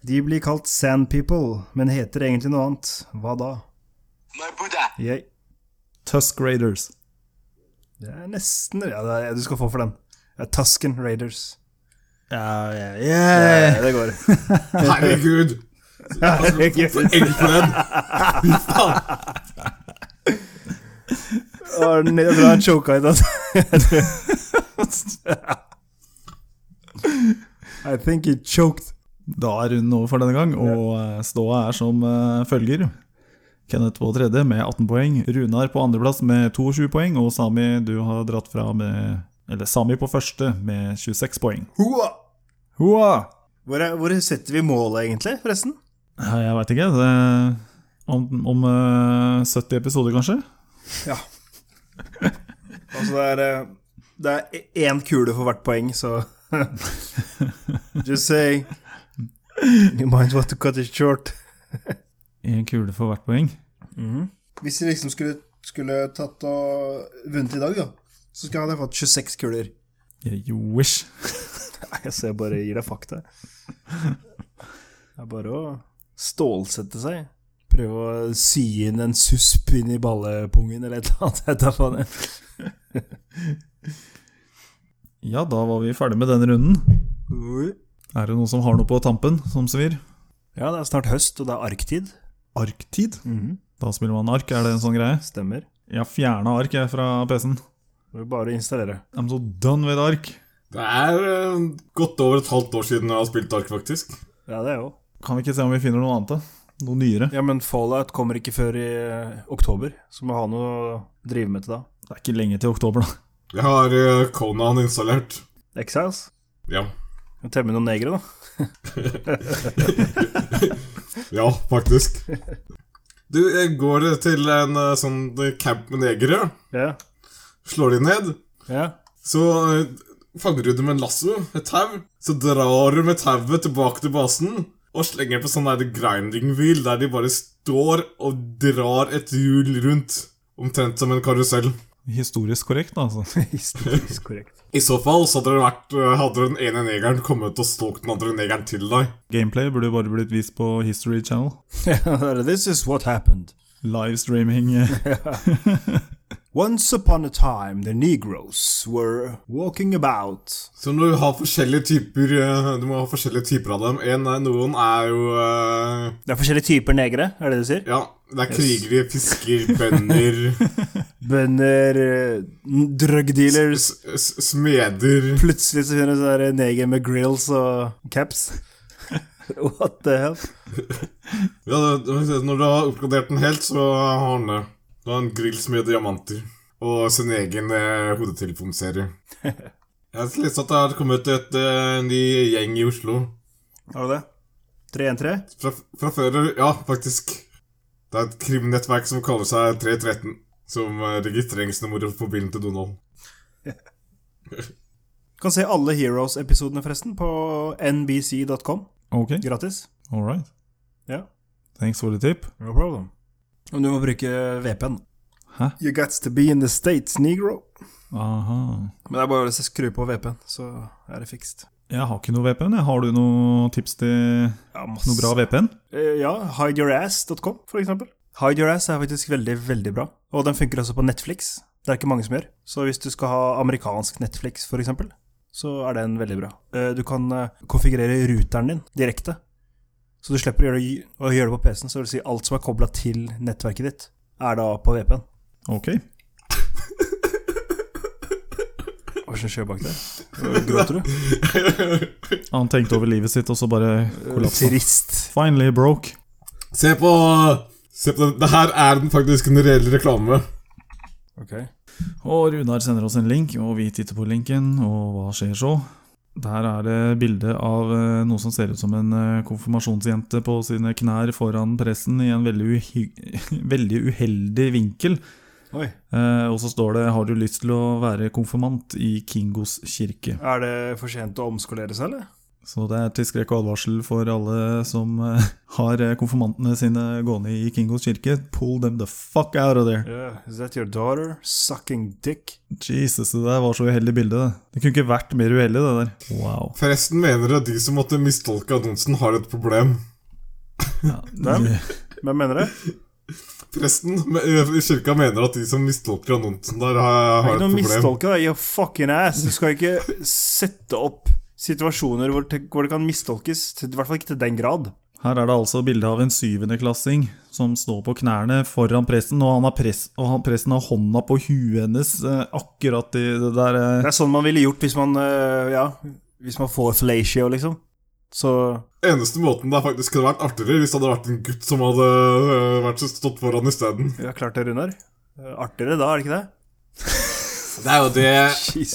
[SPEAKER 3] De blir kalt Sand People, men heter egentlig noe annet. Hva da?
[SPEAKER 5] My Buddha.
[SPEAKER 3] Jeg.
[SPEAKER 1] Tusk Raiders.
[SPEAKER 3] Det er nesten Ja, det er, du skal få for den. Det er Tusken Raiders.
[SPEAKER 1] Ja, ja,
[SPEAKER 3] Eh, det går.
[SPEAKER 4] Herregud!
[SPEAKER 3] Herregud.
[SPEAKER 4] Enkelt for den.
[SPEAKER 3] Å, den er Bra choka i dag. I think he choked.
[SPEAKER 1] Da er runden over for denne gang, og eh, ståa er som eh, følger. Kenneth på tredje med 18 poeng, Runar på andreplass med 22 poeng, og Sami du har dratt fra med Eller Sami på første med 26 poeng.
[SPEAKER 3] Hoa!
[SPEAKER 1] Hoa!
[SPEAKER 3] Hvor, er, hvor setter vi målet, egentlig, forresten?
[SPEAKER 1] Jeg veit ikke. Det om, om eh, 70 episoder, kanskje?
[SPEAKER 3] Ja. altså, det er eh, Det er én kule for hvert poeng, så Just saying. You might want to cut it short.
[SPEAKER 1] Én kule for hvert poeng.
[SPEAKER 3] Hvis vi liksom skulle, skulle tatt og vunnet i dag, da, så skulle jeg ha fått 26 kuler.
[SPEAKER 1] You wish.
[SPEAKER 3] Nei, altså, jeg bare gir deg fakta. Det er bare å stålsette seg. Prøve å sy inn en susp inn i ballepungen eller et eller annet. Jeg tar faen jeg.
[SPEAKER 1] Ja, da var vi ferdig med denne runden. Er det noen som har noe på tampen som svir?
[SPEAKER 3] Ja, det er snart høst, og det er arktid.
[SPEAKER 1] Arktid?
[SPEAKER 3] Mhm.
[SPEAKER 1] Da spiller man ark, er det en sånn greie?
[SPEAKER 3] Stemmer.
[SPEAKER 1] Jeg har fjerna ark jeg fra PC-en.
[SPEAKER 3] Det er bare å installere.
[SPEAKER 1] I'm so done with ark.
[SPEAKER 4] Det er eh, godt over et halvt år siden jeg har spilt Dark, faktisk.
[SPEAKER 3] Ja, det er jo.
[SPEAKER 1] Kan vi ikke se om vi finner noe annet, da? Noe nyere?
[SPEAKER 3] Ja, men Fallout kommer ikke før i eh, oktober, så må ha noe å drive med til da.
[SPEAKER 1] Det er ikke lenge til oktober, da.
[SPEAKER 4] Jeg har eh, Conan installert.
[SPEAKER 3] Exiles?
[SPEAKER 4] Ja.
[SPEAKER 3] Kan temme noen negre, da.
[SPEAKER 4] Ja, faktisk. Du, jeg går til en eh, sånn camp med negere,
[SPEAKER 3] Ja.
[SPEAKER 4] slår de ned,
[SPEAKER 3] ja.
[SPEAKER 4] så eh, fanger du dem med en lasso, et tau, så drar du med tauet tilbake til basen, og slenger på sånn der grinding wheel, der de bare står og drar et hjul rundt, omtrent som en karusell.
[SPEAKER 1] Historisk korrekt, da, altså.
[SPEAKER 3] Historisk korrekt.
[SPEAKER 4] I så fall så hadde, det vært, eh, hadde den ene negeren kommet og stalket den andre negeren til deg.
[SPEAKER 1] Gameplay burde bare blitt vist på History Channel.
[SPEAKER 3] This is what happened.
[SPEAKER 1] Livestreaming. eh.
[SPEAKER 3] Once upon a time, the Negroes were walking about.
[SPEAKER 4] Så når du har forskjellige typer eh, Du må ha forskjellige typer av dem. En, er- noen er jo eh,
[SPEAKER 3] Det er forskjellige typer negre, er det det du sier?
[SPEAKER 4] Ja, det er krigere, fisker, bønder,
[SPEAKER 3] Bønder, eh, n- drug dealers
[SPEAKER 4] s- s- smeder
[SPEAKER 3] Plutselig så finner du sånne neger med grills og caps. What the hell?
[SPEAKER 4] ja, det- Når du har oppgradert den helt, så har han det. Da har han grills med diamanter. Og sin egen eh, hodetelefonserie. Jeg har lest at det har kommet et eh, ny gjeng i Oslo.
[SPEAKER 3] Har du det? 313?
[SPEAKER 4] Fra, fra før Ja, faktisk. Det er et krimnettverk som kaller seg 313. Som eh, registreringsnummeret på bilen til Donald.
[SPEAKER 3] Du kan se alle Heroes-episodene forresten på nbc.com.
[SPEAKER 1] Ok,
[SPEAKER 3] Gratis.
[SPEAKER 1] all right.
[SPEAKER 3] Ja.
[SPEAKER 1] Thanks for the tip.
[SPEAKER 3] No problem. Men du må bruke VPN.
[SPEAKER 1] Hæ?
[SPEAKER 3] You got to be in the States, negro.
[SPEAKER 1] Aha.
[SPEAKER 3] Men det er bare å skru på VPN, så er det fikst.
[SPEAKER 1] Jeg har ikke noe VPN. jeg. Har du noe tips til
[SPEAKER 3] Ja, masse.
[SPEAKER 1] noe bra VPN?
[SPEAKER 3] Eh, Ja, hideyourass.com, for eksempel. Hideyourass er faktisk veldig, veldig bra. Og den funker også på Netflix. Det er ikke mange som gjør. Så hvis du skal ha amerikansk Netflix, for eksempel, så er den veldig bra. Eh, Du kan eh, konfigurere ruteren din direkte. Så du slipper å gjøre det, å gjøre det på PC-en. Så vil si alt som er kobla til nettverket ditt, er da på VPN.
[SPEAKER 1] Ok.
[SPEAKER 3] Iversen skjer bak der? Gråter du?
[SPEAKER 1] Han tenkte over livet sitt, og så bare kollapsa.
[SPEAKER 3] Trist.
[SPEAKER 1] Finally broke.
[SPEAKER 4] Se på Se på den. Det her er den faktisk en reell reklame.
[SPEAKER 3] Ok.
[SPEAKER 1] Og Runar sender oss en link, og vi titter på linken, og hva skjer så? Der er det bilde av eh, noe som ser ut som en eh, konfirmasjonsjente på sine knær foran pressen i en veldig, uhy veldig uheldig vinkel.
[SPEAKER 6] Oi.
[SPEAKER 1] Eh, og så står det 'Har du lyst til å være konfirmant i Kingos kirke'?
[SPEAKER 3] Er det for sent å omskolere seg, eller?
[SPEAKER 1] Så det er til skrekk og advarsel for alle som eh, har eh, konfirmantene sine gående i Kingos kirke. Pull them the fuck out of there.
[SPEAKER 3] Yeah. Is that your daughter sucking dick?
[SPEAKER 1] Jesus, det der var så uheldig bilde. Det Det kunne ikke vært mer uheldig, det der. Wow.
[SPEAKER 4] Forresten mener jeg at de som måtte mistolke annonsen, har et problem.
[SPEAKER 3] Dem? Hvem mener det?
[SPEAKER 4] Presten me- eh, i kirka mener at de som mistolker annonsen der,
[SPEAKER 3] Det er
[SPEAKER 4] har, har
[SPEAKER 3] ikke
[SPEAKER 4] et
[SPEAKER 3] noe
[SPEAKER 4] problem.
[SPEAKER 3] mistolke, da. You fucking ass. Du skal ikke sette opp situasjoner hvor te- hvor det kan mistolkes. til- I hvert fall ikke til den grad.
[SPEAKER 1] Her er det altså bilde av en syvendeklassing som står på knærne foran presten, og, han har press, og han, presten har hånda på huet hennes eh, akkurat i det der eh.
[SPEAKER 3] Det er sånn man ville gjort hvis man øh, Ja, hvis man får fellatio, liksom. Så
[SPEAKER 4] Eneste måten det faktisk hadde vært artigere, hvis det hadde vært en gutt som hadde øh, vært så stått foran isteden.
[SPEAKER 3] vi har klart det, Runar. Øh, Artigere da, er det ikke det?
[SPEAKER 4] Det er jo det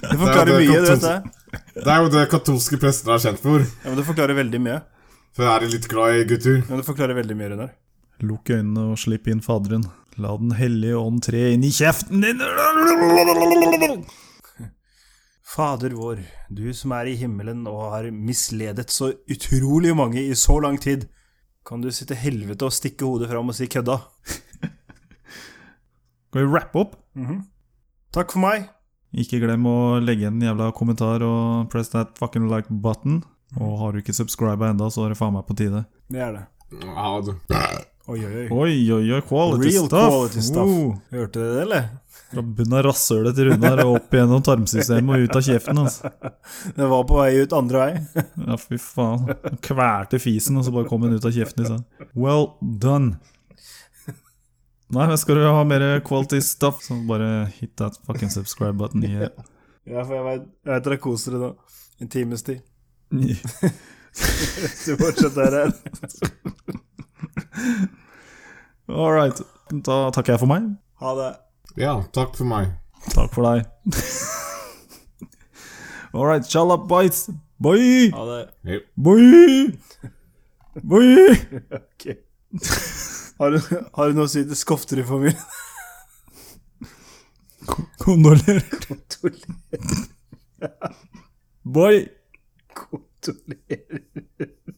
[SPEAKER 3] Det forklarer
[SPEAKER 4] det er
[SPEAKER 3] mye, du
[SPEAKER 4] godt
[SPEAKER 3] vet det.
[SPEAKER 4] Det er jo det katolske prester er kjent for.
[SPEAKER 3] Ja, men Det forklarer veldig mye.
[SPEAKER 4] For jeg er litt glad i gutter.
[SPEAKER 3] Ja, men det forklarer veldig mye, Runar.
[SPEAKER 1] Lukk øynene og slipp inn Faderen. La Den hellige ånd tre inn i kjeften din!
[SPEAKER 3] Fader vår, du som er i himmelen og har misledet så utrolig mange i så lang tid, kan du sitte helvete og stikke hodet fram og si kødda?
[SPEAKER 1] Skal vi rappe opp?
[SPEAKER 3] Mhm. Takk for meg.
[SPEAKER 1] Ikke glem å legge igjen en jævla kommentar og press that fucking like button. Og har du ikke subscriba enda, så er det faen meg på tide.
[SPEAKER 3] Det er det.
[SPEAKER 4] Ja, du.
[SPEAKER 3] Oi, oi, oi.
[SPEAKER 1] Oi, oi, oi, quality
[SPEAKER 3] Real
[SPEAKER 1] stuff!
[SPEAKER 3] quality stuff.
[SPEAKER 1] Oh,
[SPEAKER 3] Hørte du det, eller?
[SPEAKER 1] fra bunnen av rasshølet til Runar og opp gjennom tarmsystemet og ut av kjeften. Altså.
[SPEAKER 3] Det var på vei ut andre vei.
[SPEAKER 1] Ja, fy faen. Han Kvelte fisen, og så bare kom den ut av kjeften din. sånn. Well done. Nei, men skal du ha mer quality stuff, så bare hit that fucking subscribe button. Yeah.
[SPEAKER 3] Ja, for jeg vet, jeg vet dere koser dere nå. En times tid. Så fortsetter jeg her.
[SPEAKER 1] All right. Da takker jeg for meg.
[SPEAKER 3] Ha det.
[SPEAKER 4] Ja, takk for meg.
[SPEAKER 1] Takk for deg. All right. Shalab bites. Bye!
[SPEAKER 3] Ha det.
[SPEAKER 1] Bye! Bye!
[SPEAKER 3] Ok. Har du, har du noe å si til Skofterud-familien?
[SPEAKER 1] Kondolerer.
[SPEAKER 3] Kondolerer.
[SPEAKER 1] Bye!
[SPEAKER 3] Kondolerer.